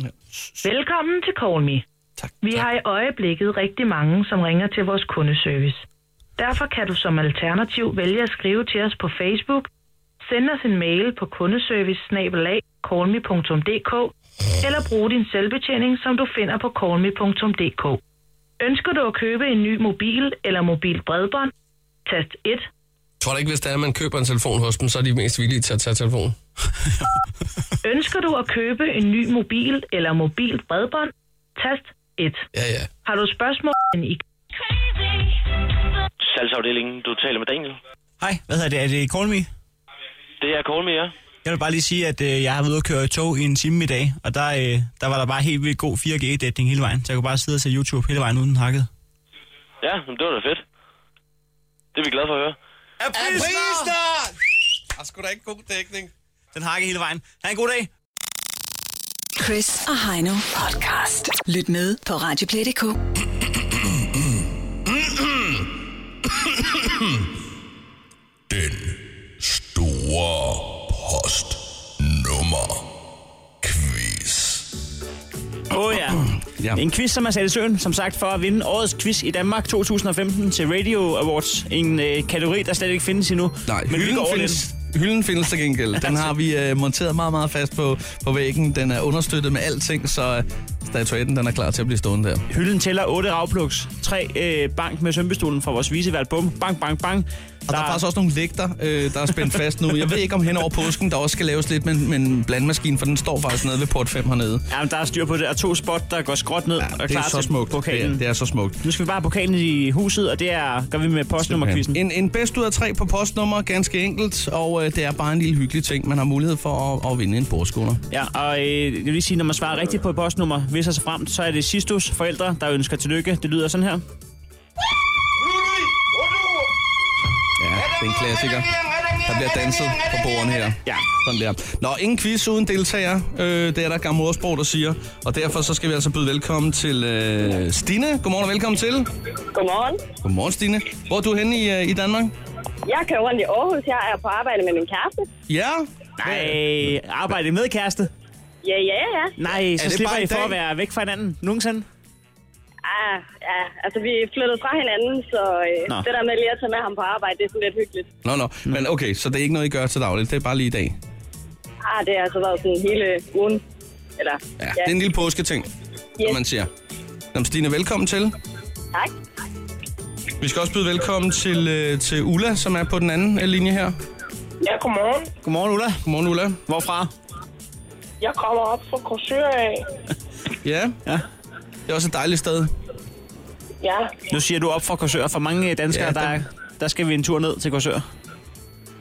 S13: Velkommen til Call Me.
S3: Tak.
S13: Vi har i øjeblikket rigtig mange, som ringer til vores kundeservice. Derfor kan du som alternativ vælge at skrive til os på Facebook, sende os en mail på kundeservice eller bruge din selvbetjening, som du finder på callme.dk. Ønsker du at købe en ny mobil eller mobil bredbånd? Tast 1.
S3: Tror du ikke, hvis det er, at man køber en telefon hos dem, så er de mest villige til at tage telefonen?
S13: Ønsker du at købe en ny mobil eller mobil bredbånd? Tast 1.
S3: Ja, ja.
S13: Har du spørgsmål? I...
S14: Salgsafdelingen, du taler med Daniel.
S4: Hej, hvad hedder det? Er det Call Me?
S14: Det er Call Me, ja.
S4: Jeg vil bare lige sige, at øh, jeg har været ude at køre i tog i en time i dag, og der, øh, der var der bare helt vildt god 4G-dækning hele vejen, så jeg kunne bare sidde og se YouTube hele vejen uden hakket.
S14: Ja, men det var da fedt. Det er vi glade for at høre.
S4: Aprisner!
S3: Der er sgu da ikke god dækning.
S4: Den hakker hele vejen. Ha' en god dag.
S2: Chris og Heino podcast. Lyt med på Radioplay.dk.
S6: Den store post nummer quiz.
S4: Åh oh, ja. ja. En quiz, som er sat i søen, som sagt, for at vinde årets quiz i Danmark 2015 til Radio Awards. En øh, kategori, der slet ikke findes endnu.
S3: Nej,
S4: vi
S3: hylden,
S4: går over
S3: findes,
S4: den.
S3: hylden findes til gengæld. Den har vi øh, monteret meget, meget fast på, på væggen. Den er understøttet med alting, så øh, statuetten den er klar til at blive stående der.
S4: Hylden tæller 8 ravpluks, 3 øh, bank med sømpestolen fra vores visevært. Bum, bang, bang, bang.
S3: Og der er faktisk også nogle vægter, øh, der er spændt fast nu. Jeg ved ikke, om hen over påsken, der også skal laves lidt med, med en blandmaskine, for den står faktisk nede ved port 5 hernede.
S4: Jamen, der er styr på det. Der er to spot, der går skråt ned ja, og
S3: det
S4: klar
S3: er så
S4: til
S3: smukt.
S4: pokalen.
S3: Det er, det er så smukt.
S4: Nu skal vi bare have pokalen i huset, og det er, gør vi med postnummerquizzen.
S3: En, en bedst ud af tre på postnummer, ganske enkelt, og øh, det er bare en lille hyggelig ting. Man har mulighed for at, at vinde en bordskunder.
S4: Ja, og øh, jeg vil lige sige, når man svarer rigtigt på et postnummer, hvis så frem, så er det Sistus forældre, der ønsker tillykke. Det lyder sådan her.
S3: Ja, det er en klassiker. Der bliver danset på bordene her.
S4: Ja.
S3: Sådan der. Nå, ingen quiz uden deltager. Øh, det er der gammel ordsprog, der siger. Og derfor så skal vi altså byde velkommen til øh, Stine. Godmorgen og velkommen til.
S15: Godmorgen.
S3: Godmorgen, Stine. Hvor er du henne i, øh, i Danmark?
S15: Jeg kører rundt i Aarhus. Jeg er på arbejde med min kæreste.
S3: Ja.
S4: Nej, arbejde med kæreste.
S15: Ja, ja, ja.
S4: Nej,
S15: Er
S4: så
S15: det
S4: slipper
S15: bare
S4: I
S15: i
S4: for
S15: dag?
S4: at være væk fra hinanden nogensinde.
S15: Ah, ja, altså vi er flyttet fra hinanden, så øh,
S3: Nå.
S15: det der med lige at tage med ham på arbejde, det er sådan lidt hyggeligt.
S3: Nå, nå.
S4: Mm.
S3: Men okay, så det er ikke noget, I gør til dagligt. Det er bare lige i dag.
S15: Ah, det har altså været sådan hele ugen. Eller,
S3: Ja, det er en lille påsketing, som man siger. Nå, men Stine, velkommen til.
S15: Tak.
S3: Vi skal også byde velkommen til, øh, til Ulla, som er på den anden øh, linje her.
S16: Ja, godmorgen.
S4: Godmorgen, Ulla.
S3: Godmorgen, Ulla.
S4: Hvorfra?
S16: Jeg kommer op fra Korsør af.
S3: Ja.
S4: ja.
S3: Det er også et dejligt sted.
S16: Ja,
S4: Nu siger du op fra Korsør. For mange øh, danskere,
S16: Ja,
S4: ja, der, er- der skal vi en tur ned til Korsør.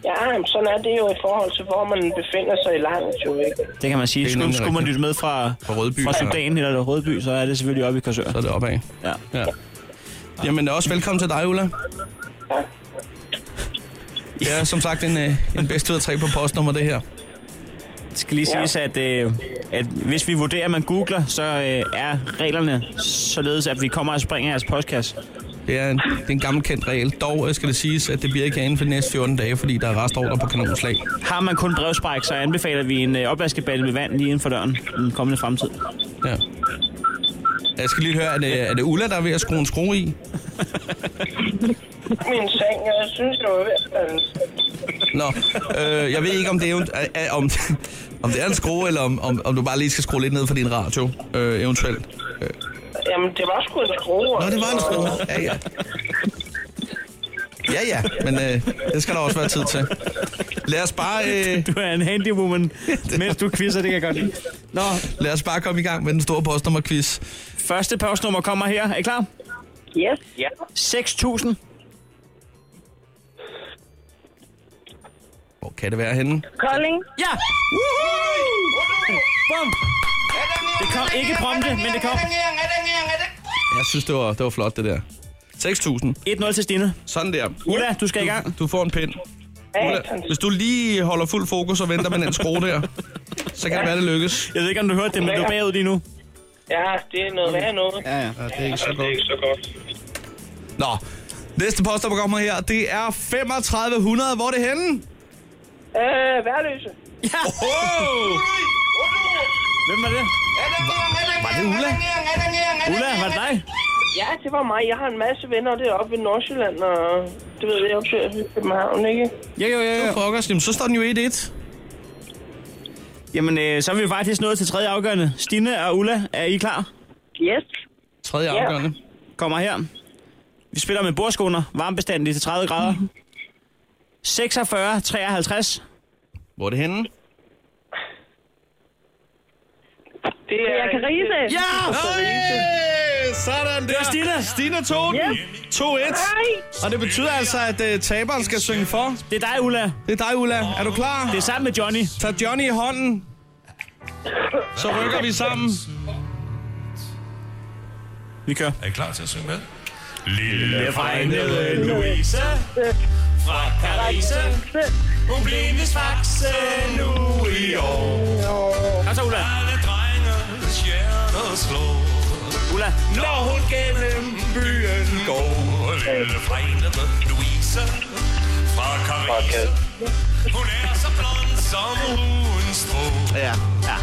S16: ja, jamen, sådan er det jo i forhold til, hvor man befinder sig i landet, jo ikke?
S4: Det kan man sige.
S16: Det er
S4: Skulle,
S16: nemlig
S4: skulle man
S16: rigtigt.
S4: lytte med fra,
S3: fra, Rødby,
S4: fra
S3: ja.
S4: Sudan eller Rødby, så er det selvfølgelig oppe i Korsør. Så
S3: er det opad.
S4: Ja.
S3: ja. Jamen, også velkommen til dig, Ulla. Ja, som sagt, en, øh, en bedst ud af tre på postnummer, det her.
S4: Det skal lige siges, at, øh, at hvis vi vurderer, at man googler, så øh, er reglerne således, at vi kommer og springer jeres postkasse.
S3: Det er en, det er en gammel kendt regel. Dog øh, skal det siges, at det bliver ikke inden for de næste 14 dage, fordi der er restordre på kanonslag.
S4: Har man kun brevspræk, så anbefaler vi en øh, opvaskeballe med vand lige inden for døren i den kommende fremtid.
S3: Ja. Jeg skal lige høre, er det, er det Ulla, der er ved at skrue en skrue i?
S16: Min seng, jeg synes, det var ved at falde.
S3: Nå, øh, jeg ved ikke, om det, er, er, er, om, om det er en skrue, eller om, om, om du bare lige skal skrue lidt ned for din radio, øh, eventuelt. Øh,
S16: Jamen, det var sgu en skrue. Nå,
S3: det var en skrue. Ja, ja. Ja, ja, men øh, det skal der også være tid til. Lad os bare... Øh...
S4: Du er en handywoman, mens du quizzer, det kan jeg godt lide. Nå.
S3: Lad os bare komme i gang med den store postnummer-quiz.
S4: Første postnummer kommer her. Er I klar?
S16: Yes. Ja.
S4: 6.000.
S3: Hvor kan det være henne?
S16: Kolding.
S4: Ja! Bum! Det kom ikke prompte, men det kom.
S3: Jeg synes, det var, det var flot, det der. 6.000.
S4: 1-0 til Stine.
S3: Sådan der.
S4: Ulla, du skal i gang.
S3: Du, du får en pind. Ulla, hvis du lige holder fuld fokus og venter med den skrue der, så kan det være, det lykkes.
S4: Jeg ved ikke, om du hørte det, men du er bagud lige nu.
S16: Ja, det er
S17: Mm.
S16: noget værd noget.
S4: Ja, ja.
S3: det er ikke så
S16: godt. så godt.
S3: Nå, næste postnummer kommer her. Det er 3500. Hvor er det henne?
S16: Øh, værløse.
S4: Ja.
S3: Oh!
S4: Hvem var det?
S3: Var det Ulla?
S4: Ulla, var det dig?
S18: Ja, det var mig. Jeg har en masse venner deroppe i Nordsjælland, og du ved, jeg opsøger i København, ikke?
S4: Ja, jo, ja,
S18: ja.
S4: Frokost,
S3: Øh, jamen, så står den jo 1-1.
S4: Jamen, øh, så er vi faktisk nået til tredje afgørende. Stine og Ulla, er I klar?
S18: Yes.
S3: Tredje yeah. afgørende.
S4: Kommer her. Vi spiller med bordskoner, varmebestandig til 30 grader. 46, 53.
S3: Hvor er det henne?
S18: Det er, det er Carise.
S4: Ja!
S3: Hey! Sådan der. Det
S4: var Stina.
S3: Stina tog den. Yes. 2-1. Og det betyder altså, at uh, taberen skal synge for.
S4: Det er dig, Ulla.
S3: Det er dig, Ulla. Er du klar?
S4: Det er sammen med Johnny.
S3: Tag Johnny i hånden. Så rykker vi sammen.
S4: Vi kører.
S19: Er I klar til at synge med?
S20: Lille fregnede Louise fra Carise. Hun blev en svakse nu i år.
S4: Kom så, Ulla.
S20: Alle drenges hjerter slår.
S4: Ulla.
S20: Når hun gennem byen går. Lille fregnede Louise fra Carise. Hun er så blond som hun strå.
S4: Ja, ja.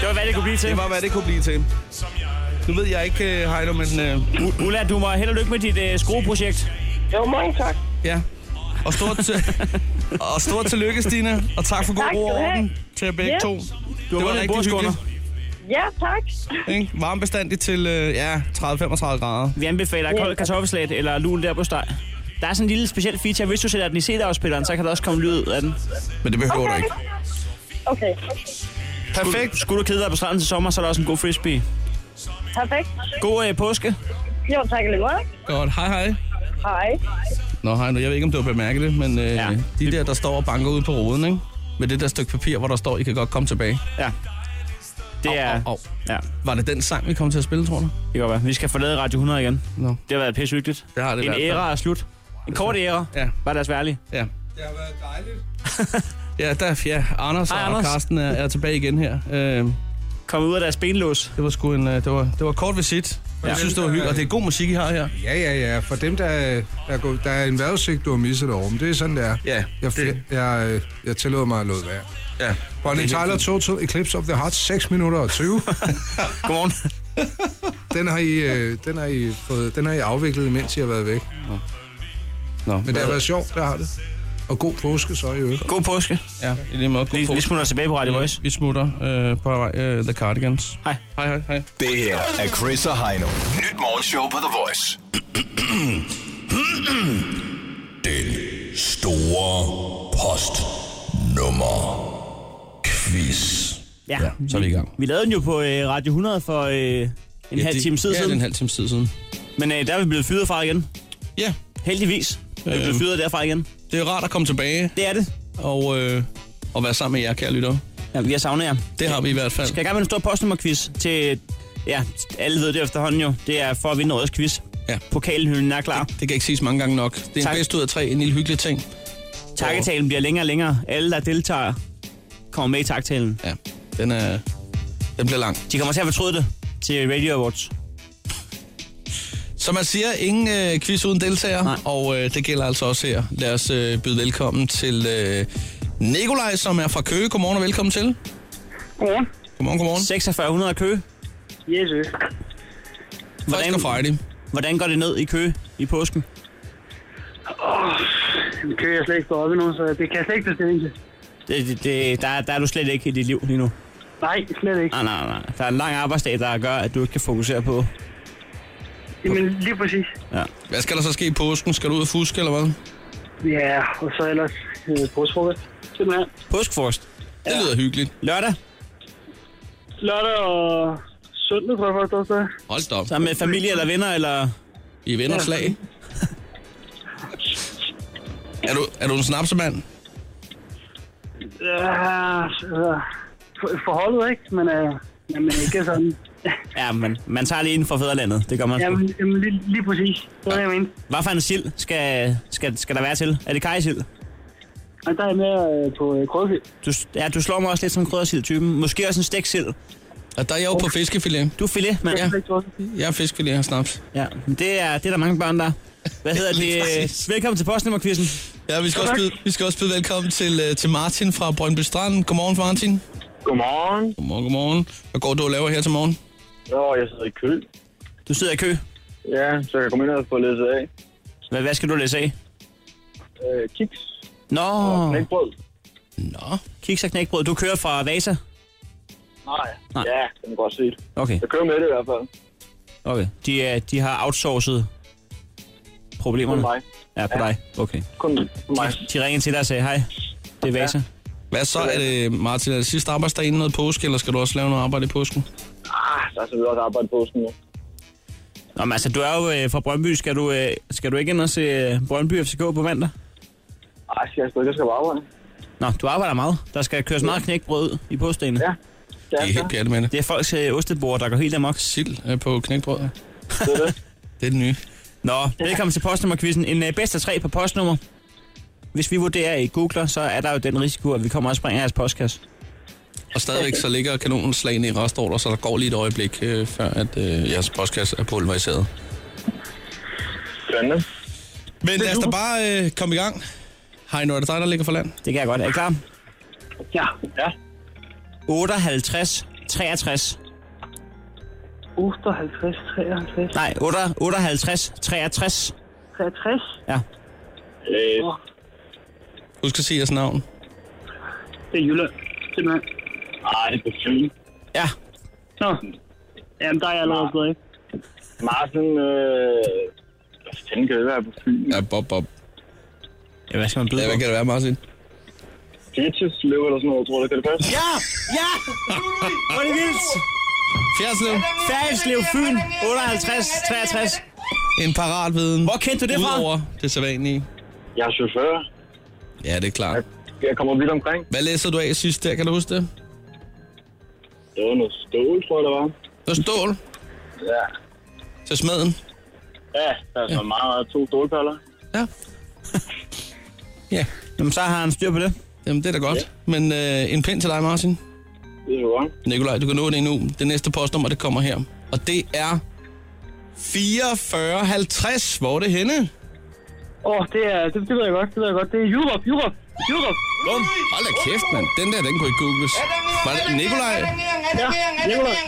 S4: Det var, hvad det kunne blive til.
S3: Det var, hvad det kunne blive til. Nu ved jeg ikke, øh, Heino, men...
S4: Uh... Ulla, du må held og lykke med dit uh, skrueprojekt.
S18: Jo, mange tak.
S3: Ja. Og stort, og stort tillykke, Stine. Og tak for god ro og orden til jer begge yes. to.
S4: Du det var rigtig hyggeligt.
S18: Ja, tak.
S3: Ikke? Varmebestandigt til øh, ja, 30-35 grader.
S4: Vi anbefaler ja. kold kartoffelslæt eller lul der på steg. Der er sådan en lille speciel feature. Hvis du sætter den i CD-afspilleren, så kan der også komme lyd ud af den.
S3: Men det behøver
S18: okay.
S3: du ikke.
S18: Okay.
S3: Perfekt.
S4: Skulle, skulle du kede dig på stranden til sommer, så er der også en god frisbee.
S18: Perfekt.
S4: God øh, påske.
S18: Jo, tak lige meget.
S3: Godt, hej hej.
S18: Hej.
S3: Nå, hej nu. Jeg ved ikke, om du har bemærket det, men øh, ja. de der, der står og banker ude på roden, ikke? Med det der stykke papir, hvor der står, I kan godt komme tilbage.
S4: Ja. Det er... Au, au, au. Ja.
S3: Var det den sang, vi kom til at spille, tror du? Det
S4: kan godt være. Vi skal forlade Radio 100 igen.
S3: No.
S4: Det har været pissehyggeligt.
S3: Det har det
S4: en
S3: været.
S4: En æra er slut. En kort æra.
S3: Ja.
S4: Var deres værlige.
S3: Ja. Det
S8: har været
S3: dejligt. ja, der, ja, Anders Hej, og Anders. Karsten er, er tilbage igen her. Øh,
S4: kommet ud af deres benlås.
S3: Det var sgu en, øh, det var, det var kort visit. Jeg ja. synes, det var hyggeligt, og det er god musik, I har her.
S7: Ja, ja, ja. For dem, der, der, går, der er en vejrudsigt, du har misset over dem. Det er sådan, det er.
S3: Ja,
S7: jeg, det. jeg, jeg, jeg tillod mig at lade være.
S3: Ja.
S7: Bonnie Tyler, Total Eclipse of the Heart, 6 minutter og 20.
S4: Godmorgen.
S7: den, har I, øh, den, har I fået, den har I afviklet, mens I har været væk. Nå. Nå, Men det har været sjovt, der har det. Og god påske så i øvrigt.
S4: God påske.
S3: Ja, i lige måde. God
S4: vi, påske. Mm. vi smutter tilbage på Radio Voice.
S3: Ja, vi smutter øh, på vej øh, The Cardigans.
S4: Hej.
S3: Hej, hej, hej.
S6: Det her er Chris og Heino. Nyt morgenshow på The Voice.
S19: Den store post nummer quiz.
S4: Ja. ja,
S3: så er vi i gang.
S4: Vi lavede den jo på øh, Radio 100 for øh, en ja, halv time siden.
S3: Ja, det er en halv time siden.
S4: Men øh, der er vi blevet fyret fra igen.
S3: Ja.
S4: Heldigvis. Vi øh, blev fyret derfra igen.
S3: Det er rart at komme tilbage.
S4: Det er det.
S3: Og, øh, og være sammen med jer, kære lytter.
S4: Ja, vi har savnet jer.
S3: Det har vi i hvert fald.
S4: Skal jeg gang med en stor postnummerquiz til... Ja, alle ved det efterhånden jo. Det er for at vinde årets quiz.
S3: Ja.
S4: Pokalhylden er klar.
S3: Det, det kan ikke siges mange gange nok. Det er tak. en bedst ud af tre, en lille hyggelig ting.
S4: Takketalen bliver længere og længere. Alle, der deltager, kommer med i taktalen.
S3: Ja, den, er, den bliver lang.
S4: De kommer til at fortryde det til Radio Awards.
S3: Som man siger, ingen øh, quiz uden deltager, Nej. og øh, det gælder altså også her. Lad os øh, byde velkommen til øh, Nikolaj, som er fra Køge. Godmorgen og velkommen til.
S17: Godmorgen.
S3: Godmorgen, godmorgen.
S4: 4600 Køge.
S17: Yes, yes.
S3: Hvordan, Friday.
S4: hvordan går det ned i Køge i påsken?
S17: Oh, Køge er slet ikke oppe nu, så det kan jeg slet ikke bestille til.
S4: Det, det, det, der, der er du slet ikke i dit liv lige nu?
S17: Nej, slet ikke.
S4: Nej, nej, nej. Der er en lang arbejdsdag, der gør, at du ikke kan fokusere på
S17: Jamen, lige præcis.
S4: Ja.
S3: Hvad skal der så ske i påsken? Skal du ud og fuske, eller hvad?
S17: Ja, og så ellers øh, påskefrokost. Simpelthen.
S4: Påskefrokost?
S3: Ja. Det lyder hyggeligt.
S4: Lørdag?
S17: Lørdag og søndag, tror jeg faktisk også.
S3: Hold da op.
S4: Sammen med familie eller venner, eller...
S3: I venners ja. lag? er, du, er du en snapsemand?
S17: Ja, altså, forholdet ikke, men, øh, men ikke sådan.
S4: ja, men man tager lige inden for fædrelandet. Det gør man.
S17: Ja, men, jamen, lige, lige præcis. Det er ja. jeg mener.
S4: Hvad for en sild skal, skal, skal der være til? Er det kajsild?
S17: Nej, der er mere øh, på øh, kryddersild.
S4: Du, ja, du slår mig også lidt som kryddersild-typen. Måske også en stæksild.
S3: Og der er jeg jo oh. på fiskefilet.
S4: Du er filet, mand.
S3: Ja. Jeg er fiskefilet og snaps.
S4: Ja, det er, det er der mange børn, der Hvad hedder det? Velkommen til postnummerquizzen.
S3: Ja, vi skal, også byde, vi skal også byde velkommen til, til Martin fra Brøndby Strand. Godmorgen, Martin.
S16: Godmorgen.
S3: Godmorgen, godmorgen. Hvad går du og laver her til morgen?
S16: Nå, jeg sidder i kø.
S4: Du sidder i kø?
S15: Ja, så jeg kan komme ind og få læsset af.
S4: Hvad, hvad skal du læse af?
S15: Øh, kiks.
S4: Nå.
S15: Og knækbrød.
S4: Nå. Kiks og knækbrød. Du kører fra Vasa?
S15: Nej. Nej. Ja, det kan godt sige.
S4: Okay.
S15: Jeg kører med det i hvert fald.
S4: Okay. De, er, de har outsourcet problemerne?
S15: Kun mig.
S4: Ja, på ja. dig. Okay.
S15: Kun mig.
S4: De, de ringede til dig og sagde, hej, det er Vasa. Ja.
S3: Hvad så? Er det, Martin, er det sidste arbejdsdag inden noget påske, eller skal du også lave noget arbejde i påsken?
S15: Ah, der er selvfølgelig også arbejde i påsken nu.
S4: Nå, men altså, du er jo øh, fra Brøndby. Skal du, øh, skal du ikke ind og se øh, Brøndby FCK på mandag?
S15: Nej, jeg skal ikke. Jeg skal bare arbejde.
S4: Nå, du arbejder meget. Der skal køres meget knækbrød ud i påstene.
S15: Ja.
S3: Det er helt pjattet med det.
S4: Det er folks øh, ostebord, der går helt amok.
S3: Sild øh, på knækbrød. Det
S15: er det.
S3: det er det nye.
S4: Nå, velkommen til postnummerquizzen. En øh, bedst af tre på postnummer. Hvis vi vurderer i Googler, så er der jo den risiko, at vi kommer og springer jeres postkasse.
S3: Og stadigvæk så ligger kanonens slagene i restorder, så der går lige et øjeblik, øh, før at øh, jeres postkasse er pulveriseret.
S15: Spændende.
S3: Men lad os da bare øh, komme i gang. Hej, nu er det dig, der ligger for land.
S4: Det kan jeg godt. Er I klar?
S15: Ja. Ja.
S4: 58, 63.
S10: 58, 53.
S4: Nej, 8, 58, 63.
S10: 63?
S4: Ja.
S15: Øh.
S3: Husk at sige jeres navn.
S10: Det er Jylland, simpelthen.
S15: Nej, det er på Fyn.
S4: Ja.
S10: Nå. Jamen, der er jeg allerede blevet, ikke?
S15: Martin, øh... Hvad fanden kan det være på Fyn?
S3: Ja, Bob, Bob.
S4: Ja, hvad skal man byde
S3: Ja, hvad kan det være, Martin?
S15: Fjertjeslev eller sådan noget, tror du, kan det passe?
S4: Ja! Ja! Hvor er det vildt!
S3: Fjerdslev.
S4: Fjerdslev, Fyn, 58, 63.
S3: En paratviden.
S4: Hvor kendte du det fra?
S3: Udover det sædvanlige.
S15: Jeg er chauffør.
S3: Ja, det er klart.
S15: Jeg kommer vidt omkring.
S3: Hvad læser du af sidst der, kan du huske det?
S15: Det var noget stål, tror jeg, det var.
S3: Noget stål?
S15: Ja.
S3: Til smeden?
S15: Ja, der er så ja. meget, meget to stålpaller.
S3: Ja. ja.
S4: Jamen, så har han styr på det.
S3: Jamen, det er da godt. Ja. Men øh, en pind til dig, Martin.
S15: Det er godt.
S3: Nikolaj, du kan nå det endnu. Det næste postnummer, det kommer her. Og det er 4450. Hvor er det henne?
S10: Åh, oh, det, er, det, det ved jeg godt, det ved jeg godt. Det er Europe, Europe, Europe.
S3: Bum. Hold da kæft, mand. Den der, den kunne ikke googles. Var det Nikolaj?
S10: Ja, Nikolaj.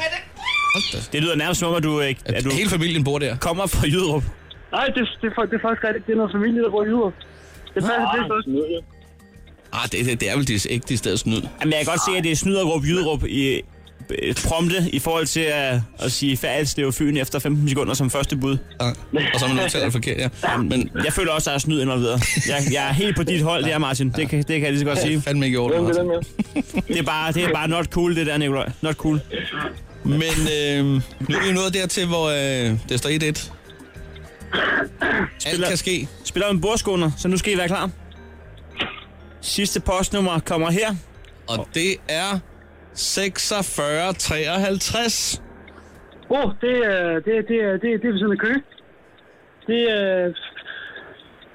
S3: Hold da.
S4: Det lyder nærmest som om, at du, ikke,
S3: Er
S4: at du
S3: Hele familien bor der.
S4: kommer fra Jyderup.
S10: Nej, det, det, er fa- det er faktisk rigtigt. Det er noget familie, der bor i Europe. Det passer til
S15: Ah,
S10: godt.
S15: snyde.
S3: Ah, det, det, det er vel de ægte sted snyd.
S4: Jamen, jeg kan godt se, at det er Snyderup, Jyderup i øh, prompte i forhold til at, at sige Færdslev Fyn efter 15 sekunder som første bud.
S3: Ja. Og så er man nødt til at forkert, ja. Men
S4: Jeg føler også, at der er snyd involveret. Jeg, jeg er helt på dit hold der, Martin. Det kan, det kan jeg lige så godt sige.
S3: fandme ikke i orden,
S15: Hvem vil
S3: Martin.
S15: den med?
S4: Det er bare, det er bare not cool, det der, Nikolaj. Not cool.
S3: Men øh, nu er vi nået dertil, hvor øh, det står 1-1. Alt kan ske.
S4: Spiller med bordskåner, så nu skal I være klar. Sidste postnummer kommer her.
S3: Og det er 4653.
S10: Åh, oh, det, er- det, er- det, er- det, er- det er ved siden af Køge. Det er... øh,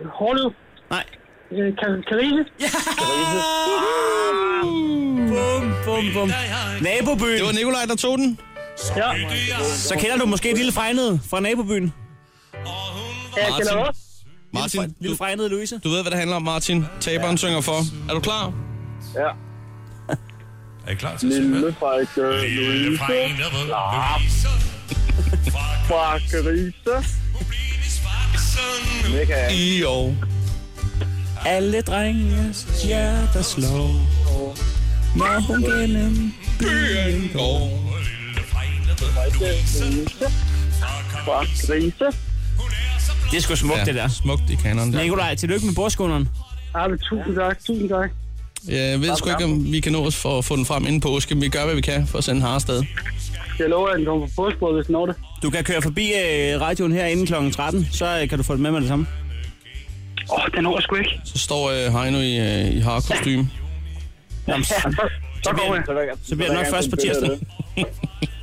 S10: Hårløv.
S4: Nej.
S10: Øh, Ka- Karise.
S4: Ja! Bum, bum, bum. Nabobyen.
S3: Det var Nikolaj, der tog den.
S10: Ja,
S4: Så kender du måske Lille Fregnede fra nabobyen.
S10: ja jeg kender
S3: Martin.
S10: også.
S3: Martin,
S4: Lille
S3: du,
S4: Fregnede Louise.
S3: du ved, hvad det handler om, Martin. Taberen synger for. Er du klar?
S15: Ja.
S19: Er I klar til at se med?
S15: Lille Frederik øh,
S19: Lille
S15: Louise
S19: Fregnede Louise.
S15: fra Carissa. Mega.
S3: I år.
S4: Alle drenges hjerter slår, når hun gennem
S3: Byen går.
S15: Fra Carissa.
S4: Det er sgu smukt, ja. det der.
S3: smukt i kanonen der.
S4: Nikolaj, tillykke med bordskåneren.
S10: Ja, men tusind tak, tusind tak.
S3: Jeg ved sgu ikke, om vi kan nå os for at få den frem inden påske, men vi gør, hvad vi kan for at sende har afsted.
S10: Jeg lover, at den kommer på påsbordet, hvis den når det.
S4: Du kan køre forbi øh, radioen her inden kl. 13, så øh, kan du få det med med det samme.
S10: Åh, oh, den når jeg sgu ikke.
S3: Så står øh, Heino i, øh, i harkostyme.
S4: Jamen, så,
S10: Så, så går jeg.
S4: så bliver det nok først på tirsdag.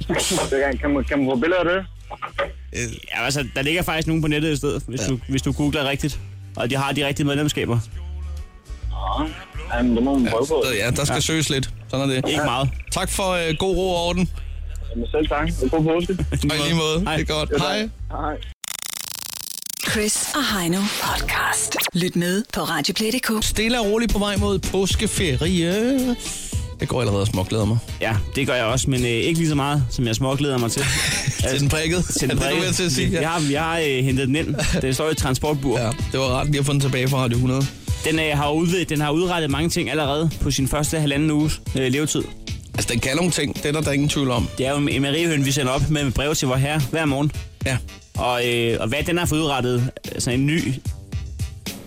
S15: Kan man, kan man få billeder af det?
S4: Ja, altså, der ligger faktisk nogen på nettet i stedet, hvis, ja. du, hvis du googler rigtigt. Og de har de rigtige medlemskaber.
S15: Ja, men det må man prøve på.
S3: Så, ja, der skal søges lidt. Sådan er det.
S4: Ikke meget.
S3: Tak for øh, god ro og orden.
S15: Jamen, selv tak. Og god påske.
S3: Og i lige måde. Det er godt. Hej.
S15: Hej.
S2: Chris og Heino podcast. Lyt med på Radioplay.dk.
S3: Stille og roligt på vej mod påskeferie. Jeg går allerede og småglæder mig.
S4: Ja, det gør jeg også, men øh, ikke lige så meget, som jeg småglæder mig til. Altså,
S3: til den prikket?
S4: Til den prikket.
S3: Det, til at sige,
S4: ja. Jeg har, jeg har øh, hentet den ind. Den står i et transportbur. Ja,
S3: det var rart lige at få den tilbage fra Radio 100.
S4: Den, øh, har udvidet, den har udrettet mange ting allerede på sin første halvanden uges øh, levetid.
S3: Altså, den kan nogle ting. Det er der, der er ingen tvivl om.
S4: Det er jo en Mariehøn, vi sender op med brev til vor herre hver morgen.
S3: Ja.
S4: Og, øh, og hvad den har fået udrettet, altså en ny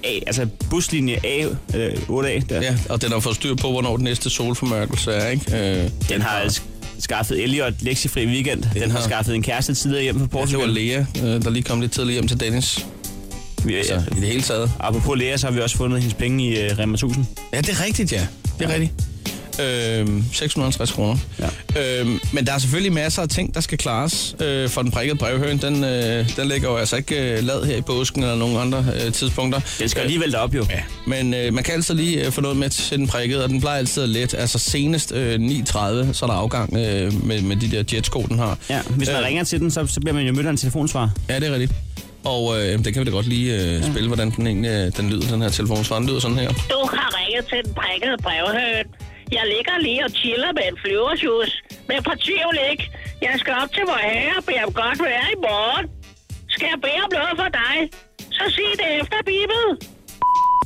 S4: A, altså buslinje A, øh, 8A. Der.
S3: Ja, og den har fået styr på, hvornår den næste solformørkelse er, ikke? Øh,
S4: den, den har altså skaffet Elliot lektiefri weekend. Den, den har... har skaffet en kæreste tidligere hjem fra Portugal.
S3: Ja, det var Lea, øh, der lige kom lidt tidligere hjem til Dennis. Vi, altså, ja. i det hele taget.
S4: Apropos Lea, så har vi også fundet hendes penge i øh, Rema 1000.
S3: Ja, det er rigtigt, ja. Det er ja. rigtigt. Øhm, 650 kroner. Ja. Øhm, men der er selvfølgelig masser af ting, der skal klares. Øh, for den prikkede brevhøen, den, øh, den ligger jo altså ikke øh, lad her i påsken eller nogen andre øh, tidspunkter.
S4: Den skal øh, alligevel derop jo.
S3: Ja. Men øh, man kan altså lige øh, få noget med til den prikkede, og den plejer altid let. Altså senest øh, 9.30, så er der afgang øh, med, med de der jetsko, den har.
S4: Ja, hvis man øh, ringer til den, så, så bliver man jo mødt af en telefonsvar.
S3: Ja, det er rigtigt. Og øh, den kan vi da godt lige øh, spille, ja. hvordan den egentlig øh, den lyder, den her telefonsvar. Den lyder sådan her.
S16: Du har ringet til den prikkede brevhøen. Jeg ligger lige og chiller med en flyvershus. Men på tvivl ikke. Jeg skal op til vor herre og bede om godt vejr i morgen. Skal jeg bede om noget for dig? Så sig det efter, Bibel.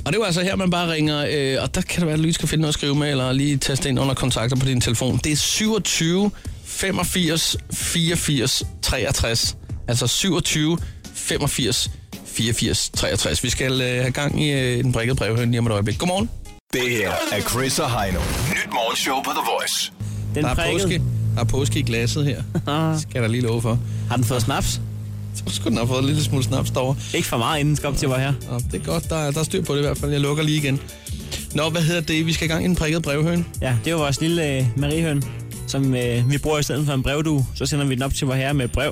S3: Og det er jo altså her, man bare ringer, øh, og der kan det være, at du lige skal finde noget at skrive med, eller lige taste ind under kontakter på din telefon. Det er 27 85 84 63. Altså 27 85 84 63. Vi skal øh, have gang i øh, den prikkede brevhøn lige om et øjeblik. Godmorgen.
S6: Det her er Chris og Heino. Nyt morgenshow på The Voice.
S3: Den der, er prikket. påske, der er påske i glasset her. skal der lige love for.
S4: Har den fået snaps?
S3: Så skulle den have fået en lille smule snaps derovre.
S4: Ikke for meget, inden den skal op til mig her.
S3: Ja, det er godt. Der, er, der er styr på det i hvert fald. Jeg lukker lige igen. Nå, hvad hedder det? Vi skal i gang i den prikkede brevhøn.
S4: Ja, det er vores lille øh, Mariehøn, som øh, vi bruger i stedet for en brevdue. Så sender vi den op til vores herre med brev.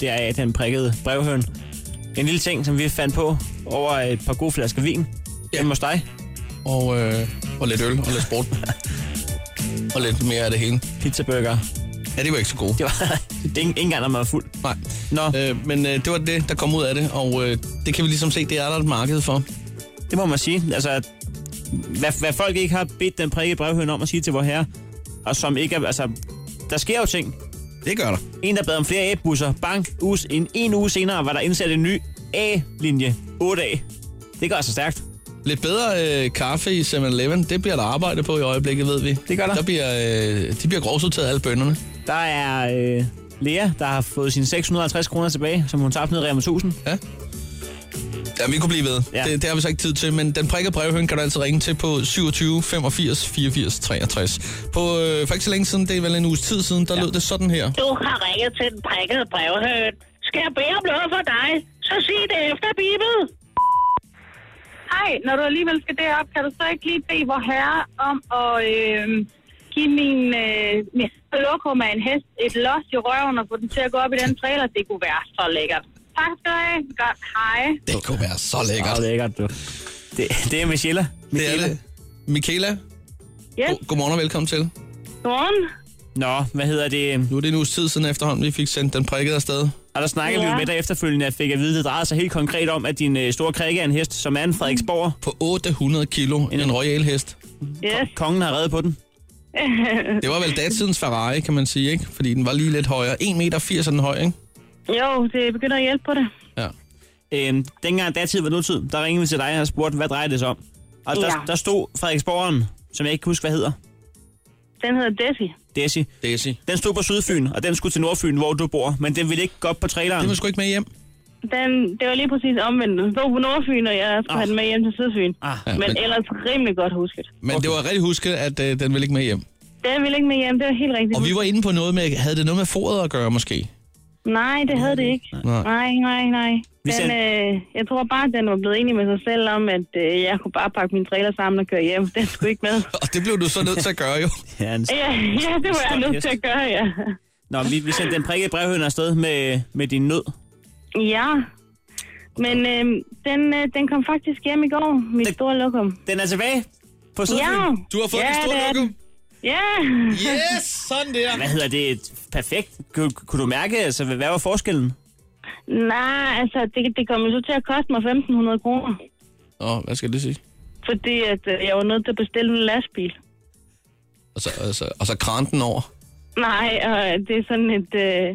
S4: Det er øh, den prikkede brevhøn. En lille ting, som vi fandt på over et par gode flasker vin. Ja. Hjemme hos dig
S3: og, øh, og lidt øl og lidt sport. og lidt mere af det hele.
S4: Pizzaburger.
S3: Ja, det var ikke så gode.
S4: Det var det ikke engang, når man var fuld.
S3: Nej. Nå. Øh, men øh, det var det, der kom ud af det, og øh, det kan vi ligesom se, det er der et marked for.
S4: Det må man sige. Altså, hvad, hvad folk ikke har bedt den prikke brevhøen om at sige til vor herre, og som ikke er, altså, der sker jo ting.
S3: Det gør der.
S4: En, der bad om flere æbbusser. Bang, us, en, en uge senere var der indsat en ny A-linje. 8 A. Det gør altså stærkt.
S3: Lidt bedre øh, kaffe i 7-Eleven, det bliver der arbejde på i øjeblikket, ved vi.
S4: Det gør der.
S3: der bliver, øh, de bliver grovsorteret alle bønderne.
S4: Der er øh, Lea, der har fået sine 650 kroner tilbage, som hun tabte ned i Rema 1000.
S3: Ja. Ja, vi kunne blive ved. Ja. Det, det, har vi så ikke tid til, men den prikker brevhøn kan du altså ringe til på 27 85 84 63. På, øh, for ikke så længe siden, det er vel en uges tid siden, der ja. lød det sådan her.
S16: Du har ringet til den prikkede brevhøn. Skal jeg bede om noget for dig, så sig det efter Bibel
S15: hej, når du alligevel skal derop, kan du så ikke lige bede vor herre om at øh, give min, øh, min lokum af en hest et los i røven og få den til at gå op i den trailer? Det kunne være så lækkert. Tak skal du have. Godt, hej.
S3: Det kunne være så lækkert.
S4: Så lækkert, du. Det, det er Michela.
S3: Michela. Det er det. Michaela?
S15: Yes.
S3: God, godmorgen og velkommen til.
S15: Godmorgen.
S4: Nå, hvad hedder det?
S3: Nu er det en uges tid siden efterhånden, vi fik sendt den prikket afsted.
S4: Og der snakkede ja. vi jo med dig efterfølgende, at fik at vide, at det drejede sig helt konkret om, at din øh, store krikke er en hest, som er en Frederiksborg.
S3: På 800 kilo, en, en royal hest.
S15: Yes.
S4: Kongen har reddet på den.
S3: det var vel datidens Ferrari, kan man sige, ikke? Fordi den var lige lidt højere. 1,80 meter er den høj, ikke?
S15: Jo, det begynder at hjælpe på det.
S3: Ja.
S4: Øhm, dengang datid var nutid, der ringede vi til dig og spurgte, hvad drejer det sig om? Og der, ja. der stod Frederiksborgeren, som jeg ikke kan huske, hvad hedder.
S15: Den hedder Desi.
S4: Desi.
S3: Desi.
S4: Den stod på Sydfyn, og den skulle til Nordfyn, hvor du bor, men den ville ikke gå op på traileren.
S3: Den var sgu ikke med hjem.
S15: Den, det var lige præcis omvendt. Den stod på Nordfyn, og jeg skulle ah. have den med hjem til Sydfyn. Ah. Ja, men, men ellers rimelig godt husket.
S3: Men okay. det var rigtig husket, at øh, den ville ikke med hjem.
S15: Den ville ikke med hjem, det var helt rigtigt.
S3: Og vi var inde på noget med, havde det noget med foret at gøre måske?
S15: Nej, det havde det ikke. Nej, nej, nej. nej. Den, øh, jeg tror bare, at den var blevet enig med sig selv om, at øh, jeg kunne bare pakke min trailer sammen og køre hjem. Den skulle ikke med.
S3: og det blev du så nødt til at gøre, jo.
S15: ja, en ja, ja, det var jeg nødt til at gøre, ja.
S4: Nå, vi, vi sendte den prikkede brevhøn afsted med, med din nød.
S15: Ja, men øh, den, øh, den kom faktisk hjem i går, mit den, store lokum.
S4: Den er tilbage på Sydfyn? Ja.
S3: Du har fået ja, din store lokum?
S15: Ja!
S3: Yeah. Yes, sådan der!
S4: Hvad hedder det? Perfekt. Kunne, kunne du mærke, altså, hvad var forskellen?
S15: Nej, altså, det, det kom jo så til at koste mig 1.500 kroner. øh,
S3: Åh, oh, hvad skal det sige?
S15: Fordi at, jeg var nødt til at bestille en lastbil.
S3: Og så, og så, og så krant den over.
S15: Nej, og det er sådan et, øh,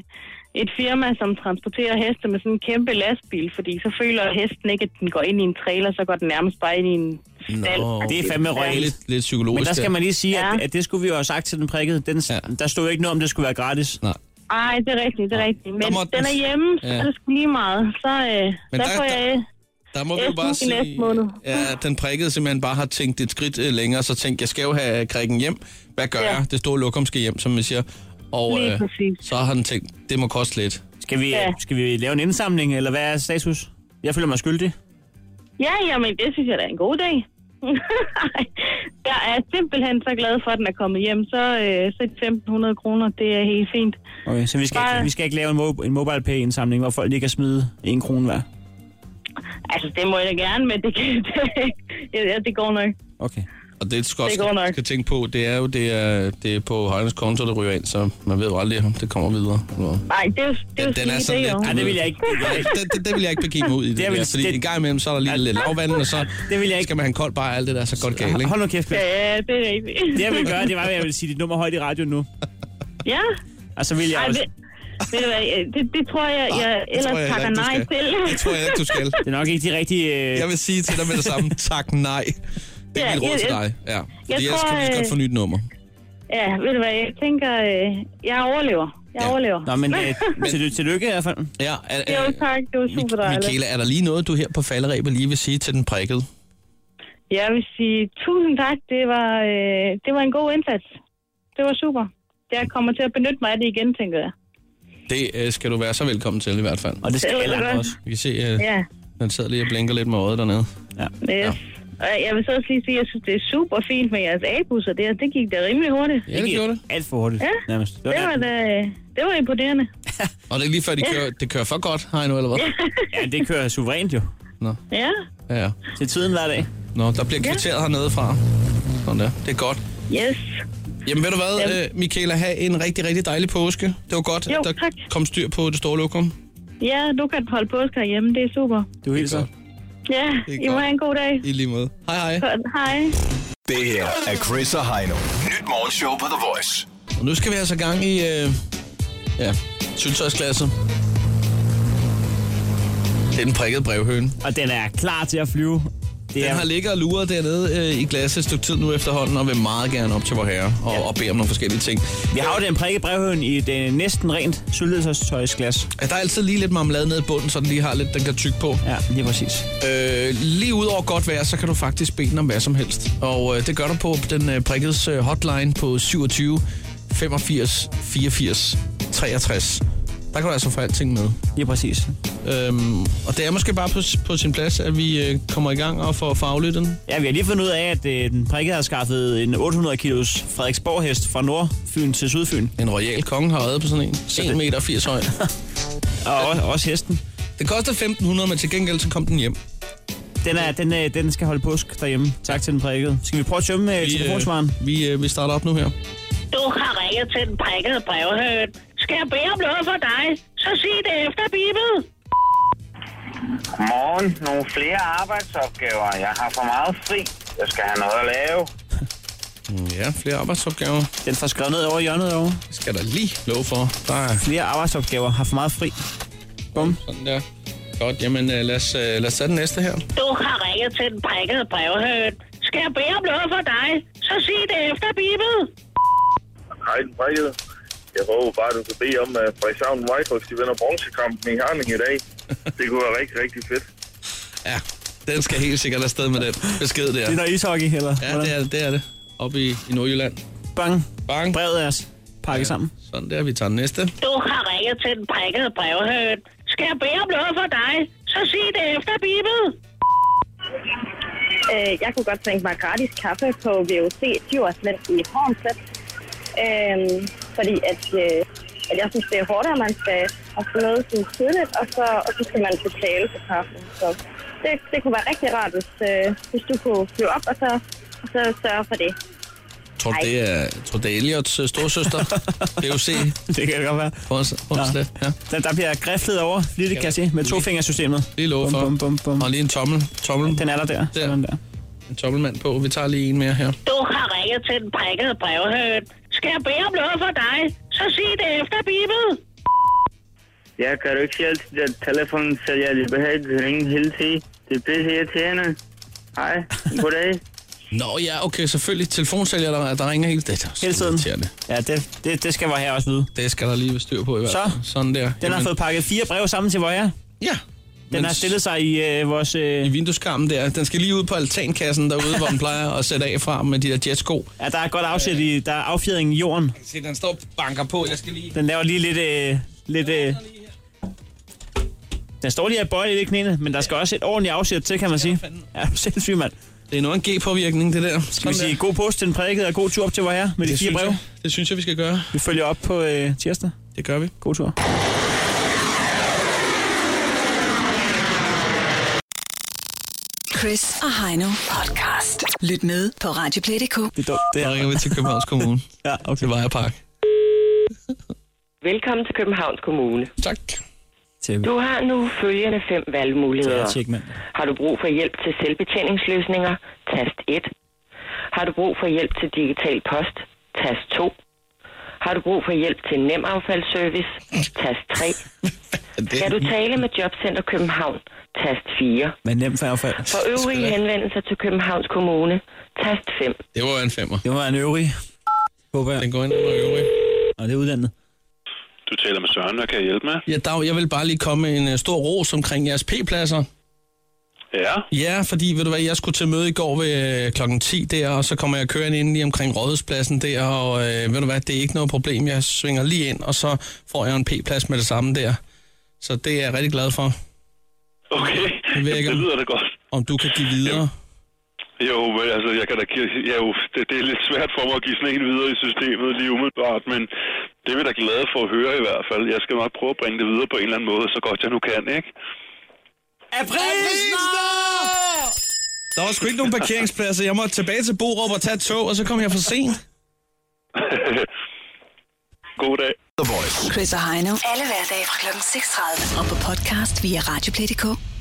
S15: et firma, som transporterer heste med sådan en kæmpe lastbil, fordi så føler hesten ikke, at den går ind i en trailer, så går den nærmest bare ind i en stald.
S4: Nå. Det er fandme røgt.
S3: Lidt, lidt psykologisk.
S4: Men der skal man lige sige,
S15: Ja.
S4: at, at det skulle vi jo have sagt til den prikkede. Den, ja. Der stod jo ikke noget om, det skulle være gratis.
S3: Nej.
S15: Nej, det er rigtigt, det er rigtigt. Men
S4: Der må den-
S15: den er hjemme, så
S3: Ja.
S15: er det sgu lige meget. Så, øh,
S3: Men
S15: der,
S3: der-
S15: får jeg...
S3: Der må vi jo
S15: Essen
S3: bare
S15: i
S3: sige,
S15: næste måned.
S3: ja, at den prikkede simpelthen bare har tænkt et skridt øh, længere, så tænkt, jeg skal jo have krikken hjem. Hvad gør ja. jeg? Det store lokum skal hjem, som vi siger. Og
S15: Lige
S3: øh,
S15: præcis.
S3: så har han tænkt, det må koste lidt.
S4: Skal vi,
S15: Ja.
S4: ja. skal vi lave en indsamling, eller hvad er status? Jeg føler mig skyldig.
S15: Ja, jamen, det synes jeg da er en god dag. Ej, jeg er simpelthen så glad for, at den er kommet hjem. Så, øh, så er de 1.500 kroner, det er helt fint.
S4: Okay, så vi skal, ikke,
S15: Nej.
S4: vi skal ikke lave en, mo- en mobile pay indsamling, hvor folk lige kan smide en krone hver.
S15: Altså, det må jeg da gerne, men det, kan, det, ja, det går nok.
S4: Okay.
S3: Og det, du også
S15: Det er godt
S3: skal,
S15: nok.
S3: skal tænke på, det er jo det er, det er på Højens konto, der ryger ind, så man ved jo aldrig, om det kommer videre. Eller hvad.
S15: Nej, det, er jo- det er jo
S3: Den- den er
S15: skidt,
S3: sådan
S15: det
S3: lidt-
S15: jo.
S4: Nej, det vil jeg ikke. Det vil jeg ikke.
S3: det, det, det vil jeg ikke begive mig ud i det,
S4: Det er vel-
S3: der, fordi
S4: det-
S3: en gang imellem, så er der lige lidt lavvand, og så
S4: Det vil jeg ikke.
S3: skal man have en kold bajer og alt det der, så går det galt, ikke?
S4: Hold nu kæft, Peter.
S15: Ja, det er rigtigt.
S4: Det jeg ville gøre, det var, at jeg ville sige dit nummer højt i radioen nu.
S15: Ja,
S4: Og så vil jeg
S15: Ej,
S4: også...
S15: ved, ved du hvad, øh, det, det tror jeg, jeg
S3: Ah, det
S15: ellers
S3: tror jeg
S15: takker
S3: heller
S15: nej
S3: ikke,
S15: til.
S3: du skal. Det tror jeg ikke, du skal.
S4: Det er nok ikke de rigtige... Øh...
S3: Jeg vil sige til dig med det samme, tak nej. Det er
S15: Ja,
S3: mit råd
S15: jeg-
S3: til
S15: jeg-
S3: dig. Ja. Fordi ellers
S15: tror,
S3: kan du lige så godt
S15: øh,
S3: få nyt nummer.
S15: Ja, ved du hvad, jeg tænker, øh, jeg overlever. Jeg
S3: Ja.
S15: overlever.
S4: Nå, men øh, tilly- tillykke i hvert fald.
S3: Ja, er,
S15: Jo, tak. Det var super dejligt.
S3: øh, Michaela, er der lige noget, du her på falderæbet lige vil sige til den prikkede?
S15: Jeg vil sige tusind tak. Det var, øh, det var en god indsats. Det var super. Jeg kommer til at benytte mig af det igen, tænker jeg.
S3: Det øh, skal du være så velkommen til i hvert fald.
S4: Og det skal
S15: Det er
S4: alle andre
S15: godt.
S4: også.
S3: Vi kan se, øh,
S15: Ja.
S3: den sidder lige og blinker lidt med øjet dernede.
S15: Yes.
S3: Ja.
S15: ja. Og jeg vil så også lige sige, at jeg synes, det er super fint med jeres A-busser der. Det gik da rimelig hurtigt.
S3: Ja, det
S4: Ikke
S3: gjorde det.
S4: Alt for hurtigt,
S15: Ja,
S4: nærmest. Det var,
S15: Det var,
S4: det.
S15: da, øh, det var imponerende.
S3: Og det er lige før, de kører, det kører for godt, har I nu, eller hvad?
S4: Ja, det kører suverænt jo.
S15: Ja,
S3: Ja, ja.
S4: Til tiden hver dag.
S3: Nå, der bliver kvitteret hernede fra. Sådan der. Det er godt.
S15: yes.
S3: Jamen ved du hvad, øh, Michaela, have en rigtig, rigtig dejlig påske. Det var godt,
S15: Jo,
S3: at der
S15: tak.
S3: kom styr på det store lokum.
S15: Ja, du kan holde påske herhjemme. Det er super.
S4: Du hilser.
S3: godt.
S15: Ja,
S3: Det er
S15: I må
S3: godt.
S15: have en god dag.
S3: I lige måde. Hej hej.
S15: Godt. Hej.
S6: Det her er Chris og Heino. Nyt morgenshow på The Voice.
S3: Og nu skal vi altså i gang i øh, ja, syltøjsklasse. Det er den prikkede brevhøne.
S4: Og den er klar til at flyve. Det
S3: Den
S4: er,
S3: har ligget og luret dernede øh, i glasset et stykke tid nu efterhånden, og vil meget gerne op til vor herre og, ja. og bede om nogle forskellige ting.
S4: vi har jo den prikke brevhøn i det næsten rent syltetøjsglas.
S3: Ja, der er altid lige lidt marmelade nede i bunden, så den lige har lidt, den kan tykke på.
S4: Ja, lige præcis.
S3: Øh, lige ud over godt vejr, så kan du faktisk bede den om hvad som helst. Og øh, det gør du på den øh, prikkedes øh, hotline på 27 85 84 63. Der kan du altså få alting med.
S4: Lige præcis.
S3: Øhm, og det er måske bare på, på sin plads, at vi øh, kommer i gang og får faglyttet den.
S4: Ja, vi har lige fundet ud af, at øh, den prikke har skaffet en 800 kilos Frederiksborg-hest fra Nordfyn til Sydfyn.
S3: En royal konge har øjet på sådan en. 1,80 meter 80 høj.
S4: Og også, også hesten.
S3: Det koster 1.500, men til gengæld så kom den hjem.
S4: Den, er, den, øh, den skal holde påsk derhjemme. Tak til den prikkede. Skal vi prøve at tømme øh,
S3: Vi,
S4: telefonsvaren?
S3: øh, vi, øh, vi starter op nu her.
S16: Du har ringet til den prikkede brevhøn. Skal jeg bede om noget for dig, så sig det efter bibel.
S1: Morgen. Nogle flere arbejdsopgaver. Jeg har for meget fri. Jeg skal have noget at lave.
S3: Mm, Ja, flere arbejdsopgaver.
S4: Den får skrevet ned over i hjørnet over.
S3: Det skal der lige lov for. Der er
S4: Flere arbejdsopgaver har for meget fri. Bum.
S3: sådan der. Godt, jamen øh, lad os, øh, lad os tage den næste her.
S16: Du har ringet til den prikkede brevhøn. Skal jeg bede om noget for dig, så sig det efter bibel.
S10: Hej, den prikkede. Jeg håber bare, du kan bede om, at Frederikshavn Whitehawks, de vinder bronzekampen i Herning i dag. Det kunne være rigtig, rigtig fedt.
S3: Ja, den skal helt sikkert afsted med den besked der.
S4: Det er noget ishockey, eller?
S3: Ja, det er det. Er det. Oppe i, i Nordjylland.
S4: Bang.
S3: Bang.
S4: Brevet er s- pakket sammen.
S3: Sådan der, vi tager den næste.
S16: Du har ringet til den prikkede brevhøn. Skal jeg bede om noget for dig, så sig det efter bibel.
S21: Øh, jeg kunne godt tænke mig gratis kaffe på VUC Djursland i Hornslet. Øh, fordi at, øh, at jeg synes, det er hårdt, at man skal have noget sådan tidligt, og så, og så skal man betale for kaffen. Så det, det kunne være rigtig rart, hvis, øh, hvis du kunne flyve op og så, og så sørge for det.
S3: Tror du, det er, tror, du, det er Eliots øh, storsøster? det er jo C.
S4: Det kan det godt være.
S3: Prøv at, prøv at slet. Ja.
S4: Der, der bliver griflet over, lige det kan jeg se, med tofingersystemet.
S3: Lige lov
S4: Bum,
S3: for.
S4: bum, bum, bum.
S3: Og lige en tommel. tommel.
S4: Den er der der.
S3: Der.
S4: Sådan der.
S3: En en tommelmand på. Vi tager lige en mere her.
S16: Du har ringet til den prikkede brevhøn. Skal jeg bede om noget for dig, så sig det efter, Bibel.
S10: Ja, kan du ikke hjælpe til den telefon, så jeg lige behøver at ringe hele tiden? Det er pisse irriterende. Hej, goddag.
S3: Nå ja, okay, selvfølgelig. Telefonsælger, der, der ringer hele tiden.
S4: Hele tiden. Ja, det, det, det skal vores her også vide.
S3: Det skal der lige være styr på i hvert fald.
S4: Så?
S3: Sådan der. Den
S4: Jamen. har fået pakket fire breve sammen til vores her.
S3: Ja.
S4: Den har stillet sig i øh, vores... Øh...
S3: I vindueskarmen der. Den skal lige ud på altankassen derude, hvor den plejer at sætte af fra med de der jetsko.
S4: Ja, der er godt afsæt i... Der er affjedring i jorden.
S3: Se, den står og banker på. Jeg skal lige...
S4: Den laver lige lidt... Øh, lidt øh... Den står lige og bøjer lidt i knæene, men der skal også et ordentligt afsæt til, kan man sige. Ja, sindssygt, mand.
S3: Det er noget en G-påvirkning, det der. Sådan
S4: skal vi sige
S3: der.
S4: god post til den prædikede, og god tur op til vor herre med det de fire brev?
S3: Jeg, det synes jeg, vi skal gøre.
S4: Vi følger op på øh, tirsdag.
S3: Det gør vi.
S4: God tur.
S2: Chris og Heino podcast. Lyt med på radioplay.dk.
S4: Det er dumt, det
S3: her. Der ringer vi til Københavns Kommune.
S4: ja, okay.
S3: Til Vejerpark.
S15: Velkommen til Københavns Kommune.
S3: Tak.
S15: Du har nu følgende fem valgmuligheder. Har du brug for hjælp til selvbetjeningsløsninger? Tast 1. Har du brug for hjælp til digital post? Tast 2. Har du brug for hjælp til nemaffaldsservice? Tast 3. Skal du tale med Jobcenter København? Tast 4.
S4: Men nemt affald.
S15: For øvrige henvendelser til Københavns Kommune? Tast 5.
S3: Det var en femmer.
S4: Det var en øvrig.
S3: Håber jeg. Den går ind under øvrig.
S4: Og det er uddannet.
S19: Du taler med Søren, hvad kan jeg hjælpe med?
S3: Ja, Dag, jeg vil bare lige komme med en uh, stor ros omkring jeres P-pladser.
S19: Ja.
S3: Ja, fordi ved du hvad, jeg skulle til møde i går ved øh, klokken 10 der, og så kommer jeg kørende ind lige omkring Rådhuspladsen der, og øh, ved du hvad, det er ikke noget problem. Jeg svinger lige ind, og så får jeg en P-plads med det samme der. Så det er jeg rigtig glad for.
S19: Okay, det, Jamen, det lyder da godt.
S3: Om du kan give videre.
S19: Jo, jo men altså, jeg kan da give, ja, jo, det, det, er lidt svært for mig at give sådan en videre i systemet lige umiddelbart, men det er vi da glade for at høre i hvert fald. Jeg skal nok prøve at bringe det videre på en eller anden måde, så godt jeg nu kan, ikke?
S4: Aprilsnar!
S3: Der var sgu ikke nogen parkeringspladser. Jeg måtte tilbage til Borup og tage et tog, og så kom jeg for sent.
S19: God dag.
S2: Chris og Heino. Alle hverdage fra kl. 6.30. Og på podcast via radioplay.dk.